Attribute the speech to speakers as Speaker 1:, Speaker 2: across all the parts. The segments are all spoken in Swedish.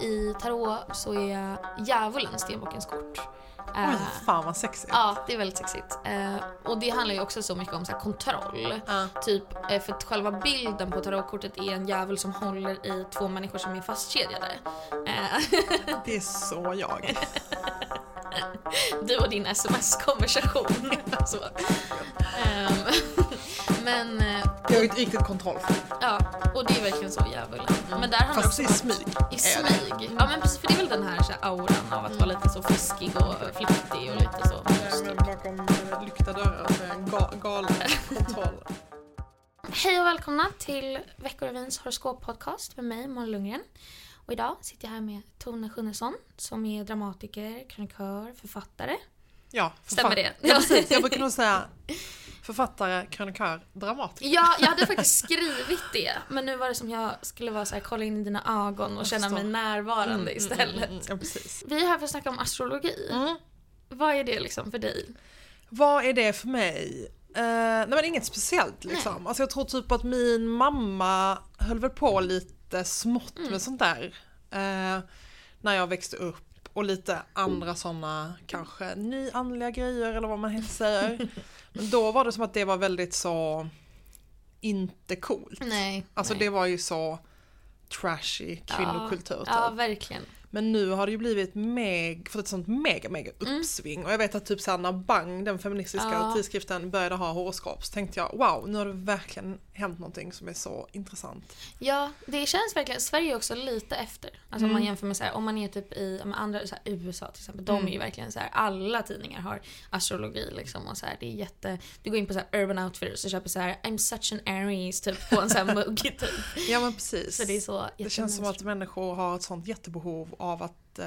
Speaker 1: I tarot så är djävulen stenbockens kort.
Speaker 2: Oj,
Speaker 1: Eh,
Speaker 2: fan vad sexigt.
Speaker 1: Ja, det är väldigt sexigt. Eh, och det handlar ju också så mycket om så här, kontroll.
Speaker 2: Ja.
Speaker 1: Typ, eh, för att själva bilden på tarotkortet är en djävul som håller i två människor som är fastkedjade. Eh,
Speaker 2: Det är så jag.
Speaker 1: du och din sms-konversation. så. Ehm, men eh,
Speaker 2: Jag är ett riktigt kontroll.
Speaker 1: ja, och det är verkligen så djävulen. Men där handlar det
Speaker 2: Mm. Fast
Speaker 1: också
Speaker 2: i smyg.
Speaker 1: i
Speaker 2: är det. Mm.
Speaker 1: smyg. Ja men precis, för det är väl den här, så här auran av att vara lite så fiskig och flyktig och lite så.
Speaker 2: Jag är Bakom eh, lyckta dörrar med ga- galen kontroll.
Speaker 1: Hej och välkomna till Veckorevyns horoskoppodcast med mig, Malin Lundgren. Och idag sitter jag här med Tone Schunnesson som är dramatiker, krönikör, författare.
Speaker 2: Ja, författ-
Speaker 1: Stämmer det?
Speaker 2: Ja, precis. Jag brukar nog säga författare, krönikör, dramatiker.
Speaker 1: Ja, jag hade faktiskt skrivit det. Men nu var det som jag skulle vara så här, kolla in i dina ögon och
Speaker 2: Jag
Speaker 1: känna
Speaker 2: förstår.
Speaker 1: mig närvarande
Speaker 2: Mm,
Speaker 1: istället.
Speaker 2: mm, Ja, precis.
Speaker 1: Vi är här för att snacka om astrologi.
Speaker 2: Mm.
Speaker 1: Vad är det liksom för dig?
Speaker 2: Vad är det för mig? Eh, nej men inget speciellt liksom. Alltså jag tror typ att min mamma höll väl på lite smått
Speaker 1: Mm.
Speaker 2: med sånt där. eh, när jag växte upp och lite andra såna kanske nyandliga grejer eller vad man helst säger. men då var det som att det var väldigt så inte coolt.
Speaker 1: Nej.
Speaker 2: Alltså det var ju så trashy kvinnokultur typ.
Speaker 1: Ja, verkligen.
Speaker 2: Men nu har det ju blivit meg, fått ett sånt mega mega uppsving och jag vet att typ såhär när Bang, den feministiska
Speaker 1: Mm. Ja.
Speaker 2: tidskriften började ha horoskop så tänkte jag wow nu har det verkligen hänt någonting som är så intressant.
Speaker 1: Ja, det känns verkligen. Sverige är också lite efter. Alltså om
Speaker 2: Mm.
Speaker 1: man jämför med så här, om man är typ i ja, men andra, så här, USA till exempel. De är ju verkligen så här, alla tidningar har astrologi liksom och så här, det är jätte, du går in på så här Urban Outfitters och köper så här I'm such an Aries typ på en sån här mugg typ.
Speaker 2: Ja men precis.
Speaker 1: Så det är så
Speaker 2: Det känns som
Speaker 1: jättemönster.
Speaker 2: att människor har ett sånt jättebehov av att eh,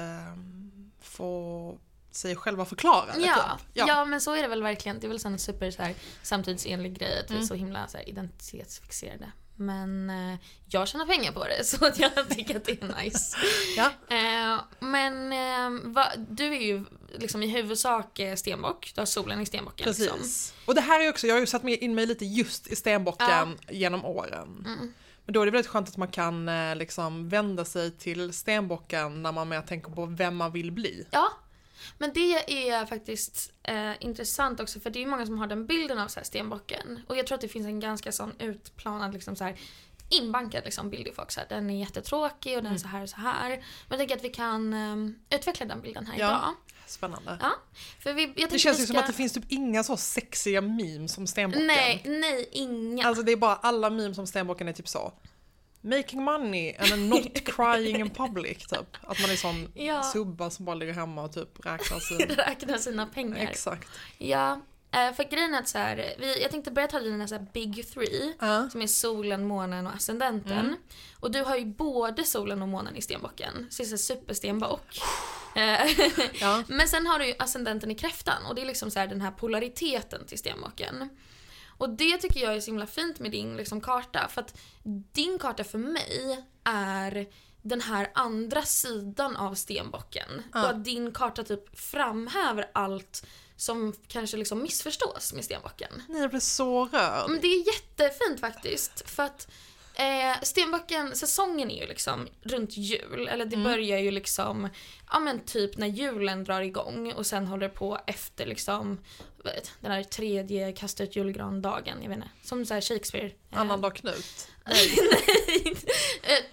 Speaker 2: få sig själva förklarade.
Speaker 1: Ja,
Speaker 2: typ.
Speaker 1: ja.
Speaker 2: ja.
Speaker 1: men så är det väl verkligen. Det är väl en super så här, samtidsenlig grej att vi är
Speaker 2: Mm.
Speaker 1: så himla så här, identitetsfixerade. Men eh, jag tjänar pengar på det så att jag tycker att det är nice.
Speaker 2: Ja.
Speaker 1: Eh, men eh, va, du är ju liksom i huvudsak eh, stenbock. Du har solen i stenbocken. Liksom.
Speaker 2: Precis. Och det här är också, jag har ju satt mig- in mig lite just i stenbocken genom åren.
Speaker 1: Mm.
Speaker 2: Men då är det väldigt skönt att man kan eh, liksom vända sig till stenbocken när man mer tänker på vem man vill bli.
Speaker 1: Ja. Men det är faktiskt eh, intressant också för det är ju många som har den bilden av så här, stenbocken. Och jag tror att det finns en ganska sån utplanad liksom så här inbankad liksom bild i folk. Så här, den är jättetråkig och den
Speaker 2: Mm.
Speaker 1: är så här och så här. Men jag tänker att vi kan eh, utveckla den bilden här
Speaker 2: Ja.
Speaker 1: idag.
Speaker 2: Spännande.
Speaker 1: Ja. För vi, jag tänkte
Speaker 2: Det
Speaker 1: att
Speaker 2: känns
Speaker 1: vi
Speaker 2: ju som
Speaker 1: ska-
Speaker 2: att det finns typ inga så sexiga memes om stenbocken.
Speaker 1: Nej, nej, inga.
Speaker 2: Alltså det är bara alla memes om stenbocken är typ så. Making money and then not crying in public typ. Att man är sån
Speaker 1: Ja.
Speaker 2: subba som bara ligger hemma och typ räknar sin...
Speaker 1: Räkna sina pengar.
Speaker 2: Exakt.
Speaker 1: Ja, eh, för grejen är att så här, vi, jag tänkte börja ta dina så här big three.
Speaker 2: Ja.
Speaker 1: Som är solen, månen och ascendenten. Och du har ju både solen och månen i stenbocken. Så det är så här superstenbock. Eh,
Speaker 2: Ja.
Speaker 1: Men sen har du ju ascendenten i kräftan och det är liksom så här den här polariteten till stenbocken. Och det tycker jag är så himla fint med din liksom karta. För att din karta för mig är den här andra sidan av stenbocken. Och att din karta typ framhäver allt som kanske liksom missförstås med stenbocken.
Speaker 2: Nej jag blev så rörd.
Speaker 1: Men det är jättefint faktiskt. För att eh, Stenbocken, säsongen är ju liksom runt jul. Eller det börjar ju liksom, ja men typ när julen drar igång och sen håller det på efter liksom vet, den här tredje kasta ut julgran-dagen. Jag vet inte. Som så här Shakespeare. eh,
Speaker 2: Annandag Knut.
Speaker 1: Nej. Eh,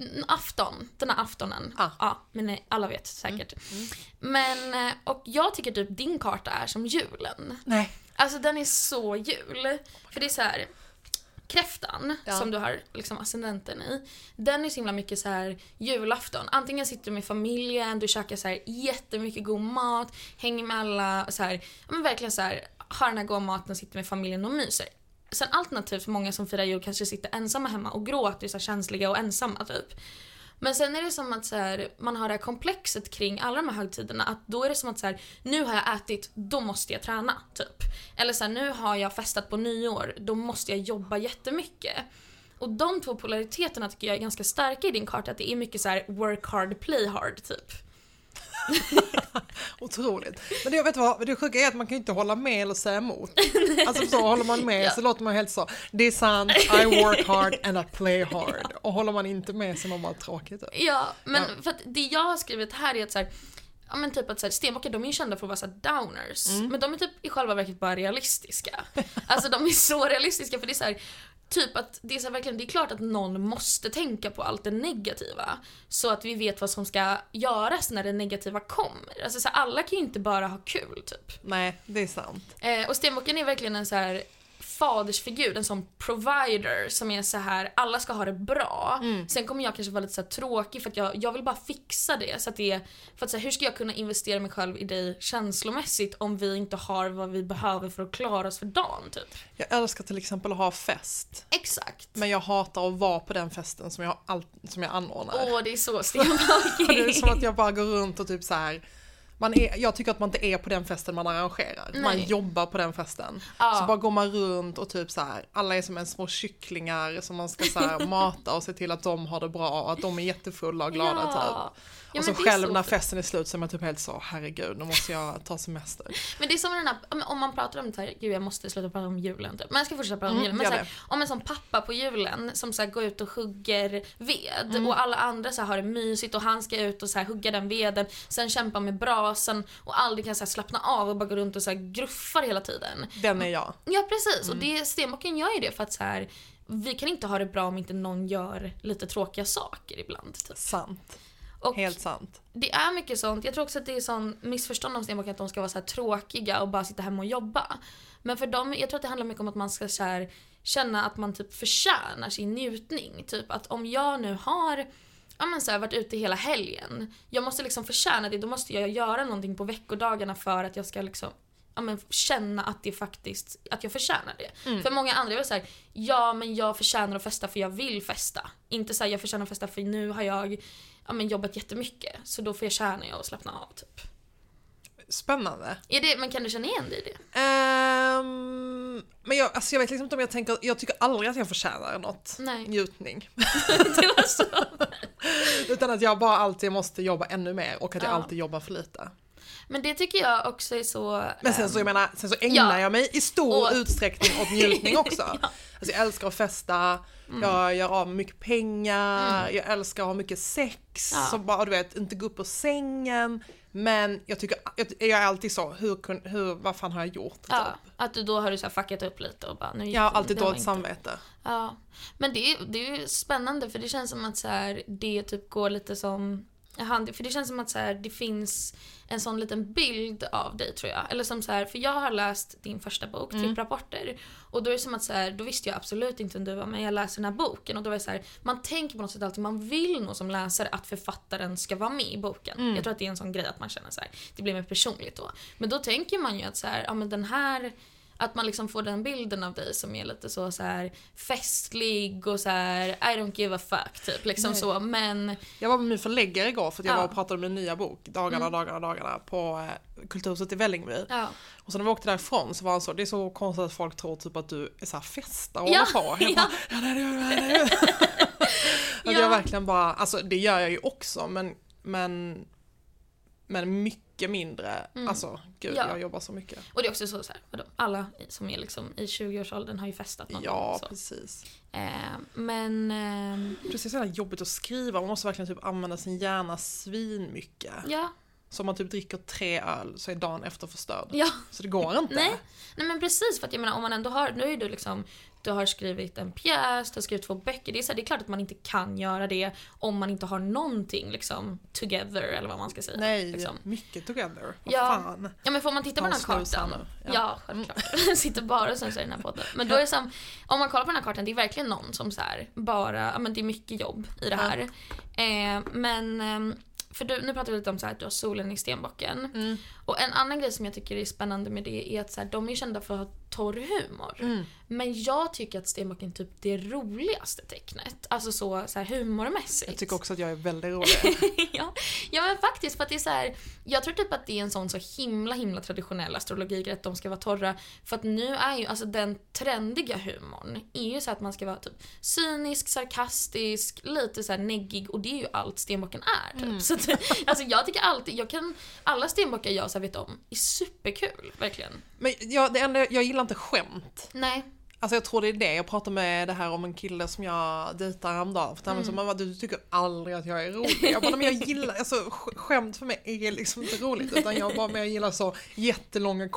Speaker 1: n- afton, den här aftonen.
Speaker 2: Ah.
Speaker 1: Ja, men nej, alla vet säkert. Men, eh, och jag tycker typ din karta är som julen.
Speaker 2: Nej.
Speaker 1: Alltså den är så jul. För det är så här. Kräftan
Speaker 2: Ja.
Speaker 1: som du har liksom ascendenten i. Den är så himla mycket så här julafton. Antingen sitter du med familjen, du käkar så här jättemycket god mat, hänger med alla och så här, ja, men verkligen så här har den här goda maten, sitter med familjen och myser. Sen alternativt för många som firar jul kanske sitter ensamma hemma och gråter, så här känsliga och ensamma typ. Men sen är det som att så här, man har det här komplexet kring alla de här högtiderna. Att då är det som att så här, nu har jag ätit, då måste jag träna. typ. Eller så här, nu har jag festat på nyår, då måste jag jobba jättemycket. Och de två polariteterna tycker jag är ganska starka i din karta. Att det är mycket så här work hard, play hard typ.
Speaker 2: Otroligt. Men det, vet du vad, det sjuka är att man kan ju inte hålla med eller säga emot. Alltså så håller man med
Speaker 1: Ja.
Speaker 2: så låter man helt så. Det är sant, I work hard and I play hard. Och håller man inte med så mår man typ. tråkigt.
Speaker 1: Ja, men
Speaker 2: Ja.
Speaker 1: för att det jag har skrivit här är att så här, ja men typ att så här, stenbockar de är ju kända för att vara så här downers, men de är typ i själva verket bara realistiska. Alltså de är så realistiska för det är så här, typ att det är så här, verkligen, det är klart att någon måste tänka på allt det negativa så att vi vet vad som ska göras när det negativa kommer. Alltså så här, alla kan ju inte bara ha kul typ.
Speaker 2: Nej, det är sant.
Speaker 1: Eh, och stenbocken är verkligen en så här fadersfigur, en sån provider som är så här alla ska ha det bra. Sen kommer jag kanske vara lite så här tråkig för att jag, jag vill bara fixa det. Så att det är, för att så här, hur ska jag kunna investera mig själv i dig känslomässigt om vi inte har vad vi behöver för att klara oss för dagen typ.
Speaker 2: Jag älskar till exempel att ha fest.
Speaker 1: Exakt.
Speaker 2: Men jag hatar att vara på den festen som jag, all, som jag anordnar.
Speaker 1: Åh det är så stenbockigt.
Speaker 2: Och det är som att jag bara går runt och typ så här. Man är, jag tycker att man inte är på den festen man arrangerar. Man
Speaker 1: Nej.
Speaker 2: jobbar på den festen.
Speaker 1: Ja.
Speaker 2: Så bara går man runt och typ så här. alla är som en små kycklingar som man ska så här mata och se till att de har det bra och att de är jättefulla och glada typ.
Speaker 1: Ja,
Speaker 2: och så
Speaker 1: men det är
Speaker 2: själv
Speaker 1: så
Speaker 2: när
Speaker 1: fint.
Speaker 2: festen är slut så är man typ helt så, herregud nu måste jag ta semester.
Speaker 1: Men det är som den här, ja, men om man pratar om det här, gud jag måste sluta prata om julen typ. Men jag ska fortsätta prata om
Speaker 2: Mm,
Speaker 1: julen. Men
Speaker 2: gör
Speaker 1: så här, om en sån pappa på julen som så här, går ut och hugger ved
Speaker 2: Mm.
Speaker 1: och alla andra så här, har det mysigt och han ska ut och så här, hugga den veden, sen kämpa med brasan och aldrig kan så här, slappna av och bara gå runt och så här, gruffar hela tiden.
Speaker 2: Den är jag.
Speaker 1: Ja precis och
Speaker 2: Mm.
Speaker 1: det, stenbocken gör ju det för att så här, vi kan inte ha det bra om inte någon gör lite tråkiga saker ibland. Typ.
Speaker 2: Sant.
Speaker 1: Och
Speaker 2: Helt sant.
Speaker 1: det är mycket sånt. Jag tror också att det är sån missförstånd om stenbockar att de ska vara så här tråkiga och bara sitta hemma och jobba. Men för dem, jag tror att det handlar mycket om att man ska så här, känna att man typ förtjänar sin njutning. Typ att om jag nu har ja, men så här, varit ute hela helgen, jag måste liksom förtjäna det. Då måste jag göra någonting på veckodagarna för att jag ska liksom ja, men känna att det faktiskt, att jag förtjänar det. För många andra är väl såhär, ja men jag förtjänar att festa för jag vill festa. Inte såhär jag förtjänar att festa för nu har jag ja, men jobbat jättemycket så då förtjänar jag att slappna av typ.
Speaker 2: Spännande.
Speaker 1: Är det, men kan du känna igen dig i det?
Speaker 2: Ehm, men jag, alltså jag vet liksom inte om jag tänker, jag tycker aldrig att jag förtjänar något.
Speaker 1: Nej.
Speaker 2: Njutning.
Speaker 1: det var så.
Speaker 2: Utan att jag bara alltid måste jobba ännu mer och att jag
Speaker 1: Ja.
Speaker 2: alltid jobbar för lite.
Speaker 1: Men det tycker jag också är så... eh,
Speaker 2: Men sen så, jag menar, sen så ägnar
Speaker 1: Ehm, Ja.
Speaker 2: jag mig i stor
Speaker 1: Och-
Speaker 2: utsträckning åt njutning också. Alltså jag älskar att festa,
Speaker 1: Mm.
Speaker 2: jag gör av med mycket pengar, jag älskar att ha mycket sex,
Speaker 1: Ja.
Speaker 2: så bara du vet, inte gå upp ur sängen. Men jag tycker, jag, jag är alltid så, hur, kun- hur, vad fan har jag gjort?
Speaker 1: Ja, att du då har du så här fuckat upp lite och bara nu gick
Speaker 2: Jag har
Speaker 1: det-
Speaker 2: alltid
Speaker 1: det var
Speaker 2: dåligt
Speaker 1: inte-
Speaker 2: samvete.
Speaker 1: Ja, men det, är- det är ju spännande för det känns som att så här, det typ går lite som hand, för det känns som att så här, det finns en sån liten bild av dig tror jag. Eller som så här, för jag har läst din första bok, Tripprapporter. Och då är det som att så här, då visste jag absolut inte vem du var men jag läser den här boken och då var det så här, man tänker på något sätt alltid, man vill nog som läsare att författaren ska vara med i boken. Jag tror att det är en sån grej att man känner så här, det blir mer personligt då. Men då tänker man ju att så här, ja men den här att man liksom får den bilden av dig som är lite så, så här festlig och så här I don't give a fuck typ liksom
Speaker 2: Nej.
Speaker 1: så men
Speaker 2: Jag var med min förläggare igår för att
Speaker 1: Ja.
Speaker 2: jag
Speaker 1: Mm.
Speaker 2: var och pratade om min nya bok, Dagarna, dagarna, dagarna på eh, Kulturhuset i Vällingby.
Speaker 1: ja.
Speaker 2: Och sen när vi åkte därifrån så var han så, det är så konstigt att folk tror typ att du är så här festa och
Speaker 1: Ja,
Speaker 2: håller på. Jag
Speaker 1: ja.
Speaker 2: bara, ja. nej, det gör jag, nej, det gör jag." Att
Speaker 1: Ja.
Speaker 2: jag verkligen bara, alltså det gör jag ju också men, men, men mycket mindre. Alltså gud
Speaker 1: Mm. Ja.
Speaker 2: jag jobbar så mycket.
Speaker 1: Och det är också så, så här, vadå, alla som är liksom i 20-årsåldern har ju festat någon
Speaker 2: Ja
Speaker 1: gång. Så.
Speaker 2: precis.
Speaker 1: Eh, men ehm,
Speaker 2: Precis, det är så jävla jobbigt att skriva, man måste verkligen typ använda sin hjärna svinmycket.
Speaker 1: ja,
Speaker 2: Så om man typ dricker tre öl så är dagen efter förstörd.
Speaker 1: ja.
Speaker 2: Så det går inte.
Speaker 1: Nej, nej men precis för att jag menar om man ändå har, nu är du liksom du har skrivit en pjäs, du har skrivit två böcker. Det är, så här, det är klart att man inte kan göra det om man inte har någonting liksom together eller vad man ska säga.
Speaker 2: Nej,
Speaker 1: liksom.
Speaker 2: mycket together. Vad
Speaker 1: Ja.
Speaker 2: fan.
Speaker 1: Ja men får man titta på
Speaker 2: Ja,
Speaker 1: den här kartan?
Speaker 2: snusarna,
Speaker 1: Ja,
Speaker 2: ja.
Speaker 1: självklart. Sitter bara och snusar i den här podden. Men då är det som, om man kollar på den här kartan, det är verkligen någon som så här, bara, ja men det är mycket jobb i det här. Eh, men, ehm, för du, nu pratar vi lite om så här, att du Mm. har solen i stenbocken. Och en annan grej som jag tycker är spännande med det är att så här, de är ju kända för att torr humor.
Speaker 2: Mm.
Speaker 1: Men jag tycker att Stenbock är typ det roligaste tecknet. Alltså så, så här humormässigt.
Speaker 2: Jag tycker också att jag är väldigt rolig.
Speaker 1: ja. ja men faktiskt för att det är så här, jag tror typ att det är en sån så himla himla traditionell astrologigrej att de ska vara torra. För att nu är ju alltså den trendiga humorn är ju så att man ska vara typ cynisk, sarkastisk, lite så här neggig och det är ju allt stenbocken är. Typ. Så att, alltså jag tycker alltid, jag kan, alla stenbockar jag så här vet om är superkul verkligen.
Speaker 2: Men jag, det enda, jag gillar inte skämt.
Speaker 1: Nej.
Speaker 2: Alltså jag tror det är det, jag pratade med det här om en kille som jag dejtar häromdagen. För mm. så, man bara, du tycker aldrig att jag är rolig. Jag bara, men jag gillar, alltså sk- skämt för mig är liksom inte roligt. Utan jag bara, men jag gillar så jättelånga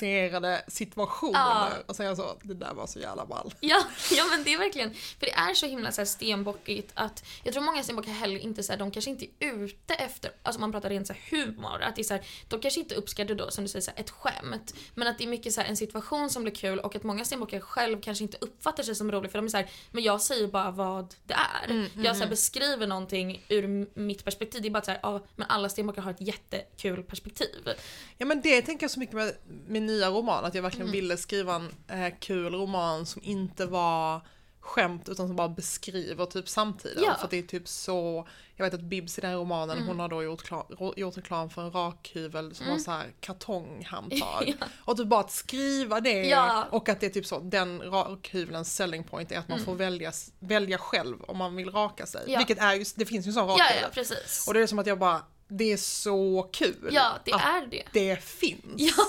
Speaker 2: komplicerade situationer.
Speaker 1: Ja.
Speaker 2: Och sen jag så, det där var så jävla ball.
Speaker 1: Ja, ja men det är verkligen, för det är så himla så här stenbockigt att jag tror många stenbockar heller inte så här, de kanske inte är ute efter, alltså man pratar rent så här humor, att det är så här, de kanske inte uppskattar då som du säger så här, ett skämt, men att det är mycket så här en situation som blir kul och att många stenbockar själv kanske inte uppfattar sig som rolig för de är så här, men jag säger bara vad det är.
Speaker 2: Mm,
Speaker 1: jag så här beskriver någonting ur m- mitt perspektiv, det är bara så här, ja men alla stenbockar har ett jättekul perspektiv.
Speaker 2: Ja men det tänker jag så mycket med min nya roman, att jag verkligen
Speaker 1: Mm.
Speaker 2: ville skriva en eh, kul roman som inte var skämt utan som bara beskriver typ samtiden.
Speaker 1: Ja. Mm.
Speaker 2: För att det är typ så, jag vet att Bibs i den här romanen hon har då gjort, kla- ro- gjort reklam för en rakhyvel som har så här kartonghandtag. Och typ bara att skriva det
Speaker 1: Ja. Mm.
Speaker 2: och att det är typ så, den rakhyvelns selling point är att man får välja, s- välja själv om man vill raka sig.
Speaker 1: Ja.
Speaker 2: Vilket är ju, det finns ju en sån
Speaker 1: Ja,
Speaker 2: rakhyvel.
Speaker 1: ja precis.
Speaker 2: Och det är som att jag bara, det är så kul
Speaker 1: Ja, det
Speaker 2: att
Speaker 1: är det.
Speaker 2: det finns.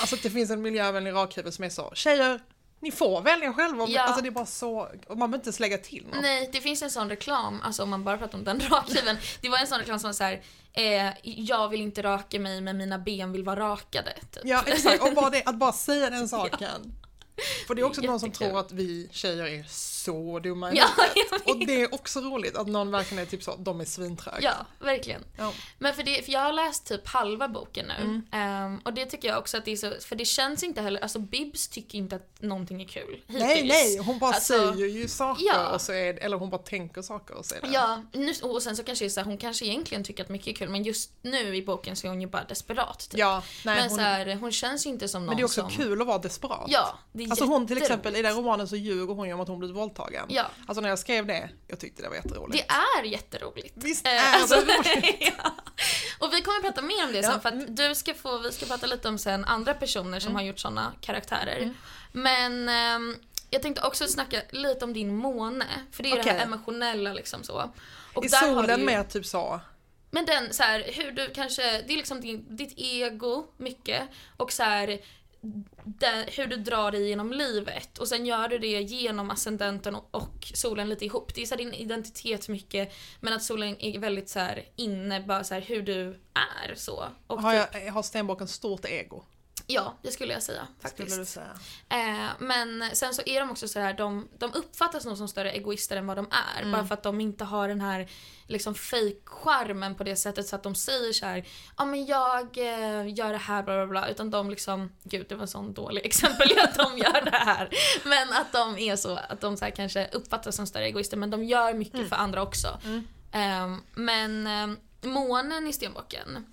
Speaker 2: Alltså att det finns en miljövänlig rakhyvel som är så, tjejer, ni får välja själva.
Speaker 1: Ja.
Speaker 2: Alltså det är bara så, och man behöver inte ens lägga till något.
Speaker 1: Nej, det finns en sån reklam, alltså om man bara pratar om den rakhyveln. Det var en sån reklam som var såhär, eh, jag vill inte raka mig men mina ben vill vara rakade. Typ.
Speaker 2: Ja exakt, och bara det, att bara säga den saken. För det är också
Speaker 1: Det är
Speaker 2: någon som
Speaker 1: jättekul.
Speaker 2: tror att vi tjejer är så dumma i
Speaker 1: Ja,
Speaker 2: huvudet.
Speaker 1: jag vet.
Speaker 2: Och det är också roligt att någon verkligen är typ så, de är svintröga.
Speaker 1: Ja, verkligen.
Speaker 2: Ja.
Speaker 1: Men för, det, för jag har läst typ halva boken nu.
Speaker 2: Mm.
Speaker 1: Ehm, och det tycker jag också att det är så, för det känns inte heller, alltså Bibs tycker inte att någonting är kul hittills.
Speaker 2: Nej nej, hon bara
Speaker 1: Alltså,
Speaker 2: säger ju saker
Speaker 1: ja.
Speaker 2: och så är det, eller hon bara tänker saker och säger det.
Speaker 1: Ja, nu, och sen så kanske det är så här, hon kanske egentligen tycker att mycket är kul men just nu i boken så är hon ju bara desperat. Typ.
Speaker 2: Ja, nej,
Speaker 1: men
Speaker 2: hon,
Speaker 1: så här, hon känns ju inte som någon
Speaker 2: men det är också
Speaker 1: som...
Speaker 2: kul att vara desperat.
Speaker 1: Ja, det är
Speaker 2: Alltså hon till exempel,
Speaker 1: jätteroligt.
Speaker 2: i den romanen så ljuger hon ju om att hon blivit våldtagen.
Speaker 1: Ja.
Speaker 2: Alltså när jag skrev det, jag tyckte det var jätteroligt.
Speaker 1: Det är jätteroligt.
Speaker 2: Visst
Speaker 1: Eh,
Speaker 2: är
Speaker 1: alltså-
Speaker 2: det roligt?
Speaker 1: ja. Och vi kommer prata mer om det sen
Speaker 2: Ja, Mm.
Speaker 1: för att du ska få, vi ska prata lite om sen andra personer som har gjort såna karaktärer. Men ehm, jag tänkte också snacka lite om din måne, för det är ju det här
Speaker 2: Okej.
Speaker 1: emotionella liksom så. Och
Speaker 2: I
Speaker 1: där har du
Speaker 2: solen
Speaker 1: ju-
Speaker 2: med typ så,
Speaker 1: Men den så här, hur du kanske, det är liksom din, ditt ego mycket och så här den, hur du drar dig genom livet och sen gör du det genom ascendenten och, och solen lite ihop. Det är så här din identitet mycket men att solen är väldigt så här inne, bara så här hur du är så. Och
Speaker 2: har,
Speaker 1: typ-
Speaker 2: jag, har stenbocken stort ego?
Speaker 1: Ja, det skulle jag säga faktiskt.
Speaker 2: Skulle du säga.
Speaker 1: Eh, men sen så är de också så här, de, de uppfattas nog som större egoister än vad de är. Bara för att de inte har den här liksom fejkcharmen på det sättet så att de säger så här, ja men jag eh, gör det här bla bla bla. Utan de liksom, gud det var en sån dålig exempel att de gör det här. Men att de är så, att de så här kanske uppfattas som större egoister men de gör mycket för andra också. Eh, men eh, månen i stenbocken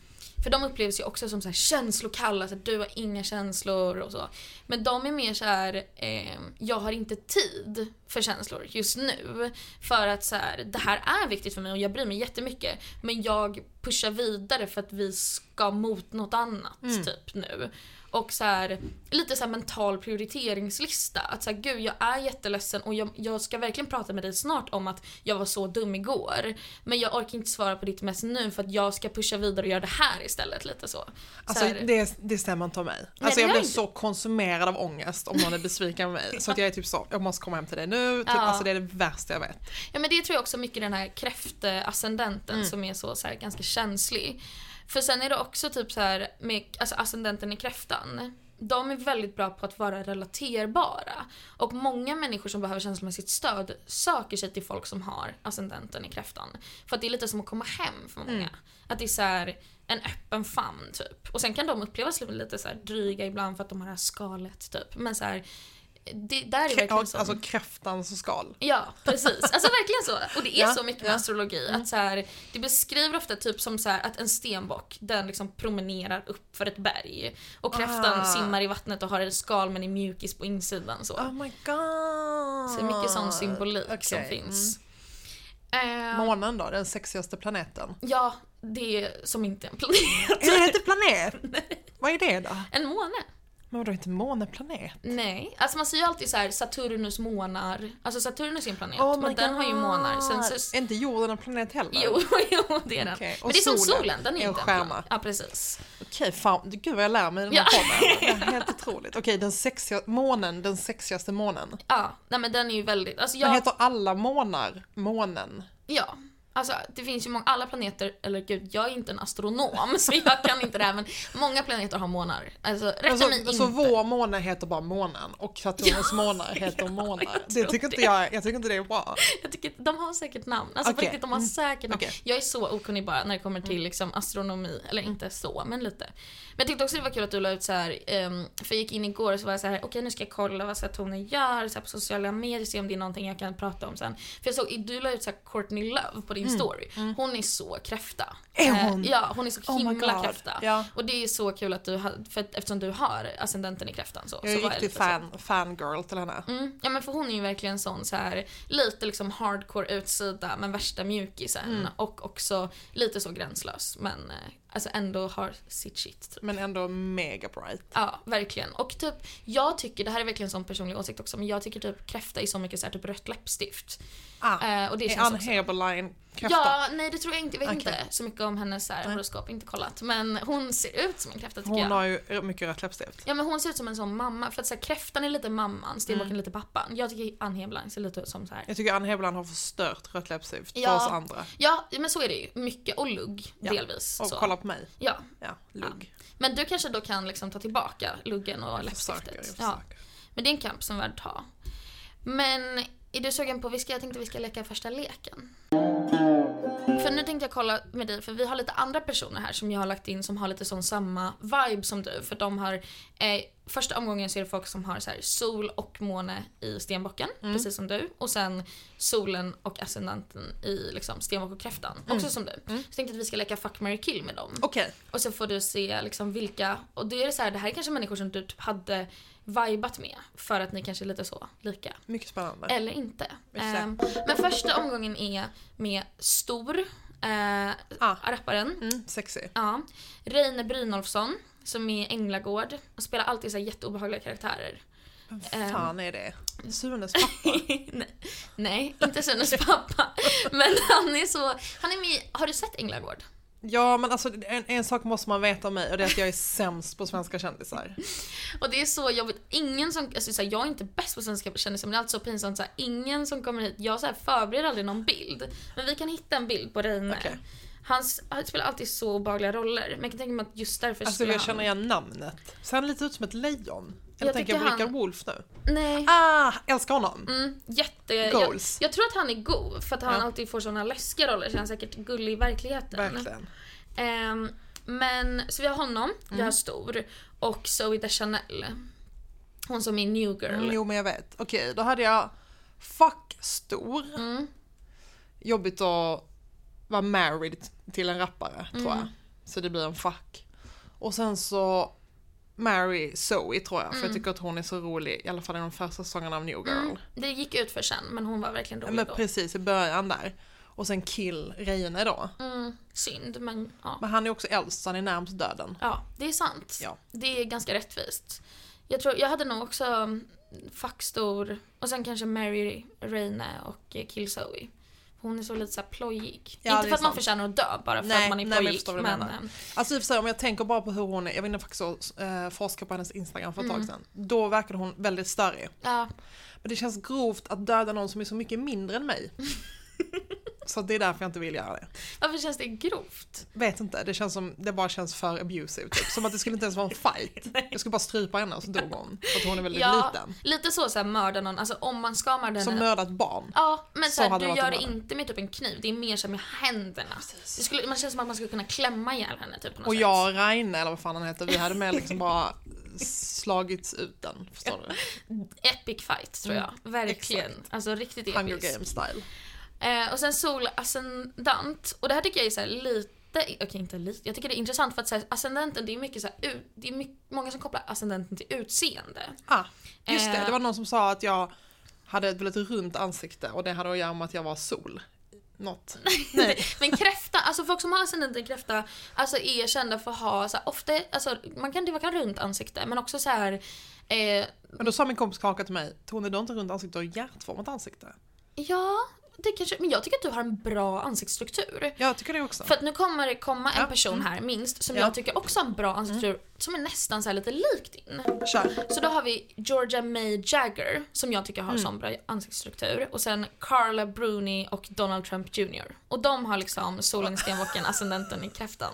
Speaker 1: för de upplevs ju också som så här känslokalla, så här, du har inga känslor och så. Men de är mer så här, eh, jag har inte tid för känslor just nu. För att så här, det här är viktigt för mig och jag bryr mig jättemycket. Men jag pushar vidare för att vi ska mot något annat typ nu. Och så här, lite så här mental prioriteringslista. Att så här, gud jag är jätteledsen och jag, jag ska verkligen prata med dig snart om att jag var så dum igår. Men jag orkar inte svara på ditt mess nu för att jag ska pusha vidare och göra det här istället. Lite så.
Speaker 2: Alltså
Speaker 1: så här,
Speaker 2: det, det stämmer inte om mig. alltså
Speaker 1: det gör
Speaker 2: jag blir
Speaker 1: inte.
Speaker 2: så konsumerad av ångest om någon är besviken på mig. Så att jag är typ så, jag måste komma hem till dig nu. Typ,
Speaker 1: Ja.
Speaker 2: Alltså det är det värsta jag vet.
Speaker 1: Ja men det tror jag också mycket den här kräftascendenten som är så, så här, ganska känslig. För sen är det också typ så här med alltså ascendenten i kräftan. De är väldigt bra på att vara relaterbara. Och många människor som behöver känslomässigt stöd söker sig till folk som har ascendenten i kräftan. För att det är lite som att komma hem för många. Att det är så här en öppen famn typ. Och sen kan de upplevas lite så här dryga ibland för att de har det här skalet typ. Men så här, det, där är verkligen
Speaker 2: Kra-
Speaker 1: så.
Speaker 2: alltså kräftans skal.
Speaker 1: Ja, precis. Alltså verkligen så. Och det är
Speaker 2: Ja,
Speaker 1: så mycket med
Speaker 2: ja. Mm.
Speaker 1: astrologi. Att så här, det beskriver ofta typ som så här, att en stenbock, den liksom promenerar upp för ett berg. Och kräftan
Speaker 2: Ah.
Speaker 1: simmar i vattnet och har en skal men är mjukis på insidan. Så,
Speaker 2: Oh my god!
Speaker 1: så det är mycket sån symbolik som
Speaker 2: Ah, Okej,
Speaker 1: finns.
Speaker 2: mm.
Speaker 1: Eh,
Speaker 2: Månen då, den sexigaste planeten.
Speaker 1: ja, det är som inte en planet.
Speaker 2: Är det inte planet? Vad är det då?
Speaker 1: En måne?
Speaker 2: Men vadå, inte månen planet?
Speaker 1: Nej. Alltså man säger ju alltid så här Saturnus månar. Alltså Saturnus är en planet,
Speaker 2: Oh my
Speaker 1: men den har ju månar. Sen så,
Speaker 2: Är inte jorden en planet heller?
Speaker 1: jo, jo, det är den.
Speaker 2: Okej, och
Speaker 1: Men det är som
Speaker 2: solen
Speaker 1: solen, den är,
Speaker 2: är en
Speaker 1: inte en
Speaker 2: stjärna.
Speaker 1: planet. Ja, precis.
Speaker 2: Okej, fan, gud vad jag lär mig i den här podden. Det är helt otroligt. Okej, den sexiga, månen, den sexigaste månen.
Speaker 1: Ja, nej men den är ju väldigt, alltså
Speaker 2: Men
Speaker 1: jag,
Speaker 2: heter alla månar månen?
Speaker 1: ja. Alltså det finns ju många, alla planeter, eller gud jag är inte en astronom så jag kan inte det här men många planeter har månar. Alltså rätta
Speaker 2: Alltså,
Speaker 1: mig
Speaker 2: så
Speaker 1: inte.
Speaker 2: vår måne heter bara månen och Saturnus månar heter månar. Det
Speaker 1: tror
Speaker 2: tycker inte jag, jag tycker inte det är bra.
Speaker 1: Jag tycker, att de har säkert namn, alltså på
Speaker 2: Okej. Mm.
Speaker 1: riktigt de har säkert namn.
Speaker 2: Okej. Mm.
Speaker 1: Jag är så okunnig bara när det kommer till liksom, astronomi, eller inte så men lite. Men jag tyckte också det var kul att du la ut så här, ehm, för jag gick in igår och så var jag så här, okej nu ska jag kolla vad Saturn gör så här, på sociala medier, se om det är någonting jag kan prata om sen. För jag såg, du la ut så här Courtney Love på din story, hon är så kräfta.
Speaker 2: Mm. Är
Speaker 1: Eh,
Speaker 2: hon?
Speaker 1: ja, hon är så
Speaker 2: Oh my
Speaker 1: himla
Speaker 2: God.
Speaker 1: kräfta.
Speaker 2: Ja.
Speaker 1: Och det är så kul att du, har- för att, eftersom du har ascendenten i kräftan så.
Speaker 2: Jag är
Speaker 1: så var
Speaker 2: riktigt
Speaker 1: lite så här,
Speaker 2: fan, fangirl till henne.
Speaker 1: Mm. Ja men för hon är ju verkligen sån så här lite liksom hardcore utsida men värsta mjukisen
Speaker 2: Mm.
Speaker 1: och också lite så gränslös men eh, alltså ändå har sitt shit. typ.
Speaker 2: Men ändå mega bright.
Speaker 1: Ja, verkligen. Och typ, jag tycker, det här är verkligen en sån personlig åsikt också, men jag tycker typ kräfta är så mycket så här, typ rött läppstift.
Speaker 2: Ah,
Speaker 1: Eh, och det
Speaker 2: är
Speaker 1: känns
Speaker 2: Ann
Speaker 1: också...
Speaker 2: Heberlein kräfta?
Speaker 1: Ja, nej det tror jag inte. Jag vet
Speaker 2: Okej.
Speaker 1: inte så mycket om hennes så här,
Speaker 2: Nej.
Speaker 1: horoskop, inte kollat. Men hon ser ut som en kräfta tycker
Speaker 2: Hon
Speaker 1: jag.
Speaker 2: har ju mycket rött läppstift.
Speaker 1: Ja men hon ser ut som en sån mamma, för att så här, kräftan är lite mamman,
Speaker 2: Mm.
Speaker 1: stenbocken är lite pappan. Jag tycker Ann Heberlein ser lite ut som så här
Speaker 2: Jag tycker Ann Heberlein har förstört rött läppstift för
Speaker 1: Ja.
Speaker 2: oss andra.
Speaker 1: Ja, men så är det ju. Mycket och lugg
Speaker 2: Ja.
Speaker 1: delvis.
Speaker 2: Och
Speaker 1: så.
Speaker 2: kolla på mig.
Speaker 1: Ja,
Speaker 2: Ja, lugg.
Speaker 1: men du kanske då kan liksom ta tillbaka luggen och
Speaker 2: jag försöker, jag
Speaker 1: läppstiftet.
Speaker 2: försöker.
Speaker 1: Ja, men det är en kamp som är värd att ta. Men är du sugen på viska? Jag tänkte vi ska leka första leken. För nu tänkte jag kolla med dig, för vi har lite andra personer här som jag har lagt in som har lite sån samma vibe som du. För de har, eh, första omgången så är det folk som har så här sol och måne i stenbocken, precis som du. Och sen solen och ascendenten i liksom stenbock och kräftan, också som du. Så jag tänkte att vi ska leka fuck, marry, kill med dem.
Speaker 2: Okej,
Speaker 1: Och så får du se liksom vilka, och då är det så här, det här är kanske människor som du typ hade vibat med för att ni kanske är lite så lika.
Speaker 2: mycket spännande.
Speaker 1: Eller inte.
Speaker 2: Exakt.
Speaker 1: Ehm, men första omgången är med Stor, eh,
Speaker 2: Ah.
Speaker 1: rapparen.
Speaker 2: Mm, sexy.
Speaker 1: Ja. Reine Brynolfsson som är Änglagård och spelar alltid så här jätteobehagliga karaktärer.
Speaker 2: Vem
Speaker 1: Eh.
Speaker 2: fan är det?
Speaker 1: Mm.
Speaker 2: Sunes pappa?
Speaker 1: Nej, nej, inte Sunes pappa. Men han är så, han är med i- har du sett Änglagård?
Speaker 2: Ja men alltså en, en sak måste man veta om mig och det är att jag är sämst på svenska kändisar.
Speaker 1: Och det är så jobbigt, ingen som, alltså så här, jag är inte bäst på svenska kändisar men det är alltid så pinsamt så här, ingen som kommer hit, jag så här, förbereder aldrig någon bild. Men vi kan hitta en bild på Reine.
Speaker 2: Okej.
Speaker 1: Han, s- han spelar alltid så obehagliga roller men jag kan tänka mig att just därför
Speaker 2: Alltså
Speaker 1: skulle
Speaker 2: jag känner igen namnet. Ser han lite ut som ett lejon? Eller
Speaker 1: Jag
Speaker 2: tänker jag på
Speaker 1: tycker
Speaker 2: Richard
Speaker 1: han-
Speaker 2: Wolff nu?
Speaker 1: han... Nej.
Speaker 2: Ah, älskar honom!
Speaker 1: Mm, jätte...
Speaker 2: Goals.
Speaker 1: Jag, jag tror att han är god för att han
Speaker 2: Ja.
Speaker 1: alltid får såna läskiga roller så han är säkert gullig i verkligheten.
Speaker 2: Verkligen.
Speaker 1: Ehm, men så vi har honom,
Speaker 2: Mm.
Speaker 1: vi har Stor och Zoe Deschanel. Hon som är New Girl.
Speaker 2: Mm, jo men jag vet. Okej, då hade jag Fuck stor. Jobbigt att vara married till en rappare tror jag. Så det blir en fuck. Och sen så Mary Zoe tror jag, för jag tycker att hon är så rolig, i alla fall i de första säsongerna av New Girl.
Speaker 1: Det gick ut för sen men hon var verkligen
Speaker 2: Ja,
Speaker 1: rolig
Speaker 2: men
Speaker 1: Mm. då.
Speaker 2: precis i början där. Och sen kill Reine då.
Speaker 1: Mm, synd men ja.
Speaker 2: Men han är också äldst, så han är närmst döden.
Speaker 1: ja. Det är sant.
Speaker 2: Ja.
Speaker 1: Det är ganska rättvist. Jag, tror, jag hade nog också mm, fuck Stor och sen kanske Mary Reine och eh, Kill Zoe. Hon är så lite så här plojig.
Speaker 2: Ja,
Speaker 1: inte
Speaker 2: det
Speaker 1: för
Speaker 2: är
Speaker 1: att man
Speaker 2: sant.
Speaker 1: förtjänar att dö bara för
Speaker 2: Nej,
Speaker 1: att man är
Speaker 2: nej, men jag
Speaker 1: plojig.
Speaker 2: förstår vad du
Speaker 1: men,
Speaker 2: menar.
Speaker 1: eh,
Speaker 2: Alltså i och för sig, om jag tänker bara på hur hon är, jag var inne faktiskt och eh, forskade på hennes instagram för ett tag sedan. Då verkade hon väldigt störig.
Speaker 1: ja,
Speaker 2: Men det känns grovt att döda någon som är så mycket mindre än mig. så det är därför jag inte vill göra det.
Speaker 1: varför känns det grovt?
Speaker 2: Vet inte, det känns som, det bara känns för abusive typ. Som att det skulle inte ens vara en fight. Jag skulle bara strypa henne och så dog hon. För att hon är väldigt
Speaker 1: Ja,
Speaker 2: liten.
Speaker 1: lite så, så här, mörda någon, alltså om man ska mörda
Speaker 2: Som
Speaker 1: henne.
Speaker 2: mördat barn.
Speaker 1: Ja, men
Speaker 2: Så
Speaker 1: så här,
Speaker 2: hade
Speaker 1: du
Speaker 2: det
Speaker 1: gör
Speaker 2: varit
Speaker 1: det
Speaker 2: om henne.
Speaker 1: inte med typ en kniv, det är mer så här med händerna. Det skulle, man känns som att man skulle kunna klämma ihjäl henne typ på något
Speaker 2: Och
Speaker 1: sätt.
Speaker 2: jag och Reine, eller vad fan han heter, vi hade med liksom bara slagits ut den. Förstår du?
Speaker 1: Epic fight tror jag. Verkligen. Alltså riktigt
Speaker 2: Mm, Hunger
Speaker 1: episkt.
Speaker 2: Games style.
Speaker 1: Eh, och sen sol ascendant. Och det här tycker jag är så här lite, okej inte lite, jag tycker det är intressant för att så här, ascendenten det är mycket så här, ut- det är mycket, många som kopplar ascendenten till utseende.
Speaker 2: Ah, just det,
Speaker 1: Eh.
Speaker 2: det var någon som sa att jag hade ett väldigt runt ansikte och det hade att göra med att jag var sol. Något. Nej.
Speaker 1: Men kräfta, alltså folk som har ascendenten kräfta alltså är kända för att ha så här, ofta, alltså man kan, det kan ha runt ansikte men också så här eh,
Speaker 2: Men då sa min kompis Kaka till mig, Tony du har inte runt ansikte, du har hjärtformat ansikte.
Speaker 1: ja, det kanske, men jag tycker att du har en bra ansiktsstruktur.
Speaker 2: Jag tycker det också.
Speaker 1: För att nu kommer det komma en
Speaker 2: Ja.
Speaker 1: person här minst som
Speaker 2: Ja. Mm.
Speaker 1: jag tycker också har en bra ansiktsstruktur som är nästan så här lite lik din.
Speaker 2: Kör.
Speaker 1: Så då har vi Georgia May Jagger som jag tycker har
Speaker 2: Mm.
Speaker 1: sån bra ansiktsstruktur och sen Carla Bruni och Donald Trump Jr. Och de har liksom solen i stenbocken, ascendenten i kräftan.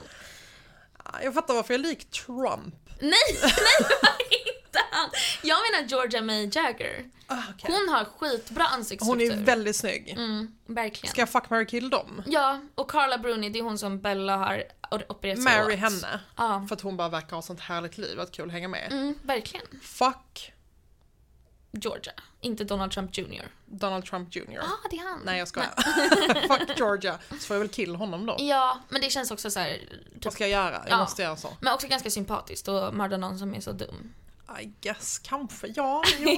Speaker 2: Ah, Jag fattar varför jag är lik Trump.
Speaker 1: Nej, nej det var inte han! Jag menar Georgia May Jagger.
Speaker 2: Ah, okej.
Speaker 1: Hon har skitbra
Speaker 2: Hon
Speaker 1: ansiktsstruktur.
Speaker 2: är väldigt snygg.
Speaker 1: Mm, verkligen.
Speaker 2: Ska jag fuck, marry, kill dem?
Speaker 1: Ja, och Carla Bruni det är hon som Bella har opererat sig
Speaker 2: Marry
Speaker 1: åt.
Speaker 2: henne.
Speaker 1: Ja,
Speaker 2: För att hon bara verkar ha sånt härligt liv, att kul att hänga med.
Speaker 1: mm, verkligen.
Speaker 2: Fuck
Speaker 1: Georgia, inte Donald Trump Jr.
Speaker 2: Donald Trump Jr.
Speaker 1: Ah, det är han.
Speaker 2: Nej jag skojar. fuck Georgia. Så får jag väl kill honom då.
Speaker 1: Ja, men det känns också så här. Typ,
Speaker 2: Vad ska jag göra? Jag
Speaker 1: Ja.
Speaker 2: måste göra så.
Speaker 1: men också ganska sympatiskt att mörda någon som är så dum.
Speaker 2: I guess, kanske. Ja, ja.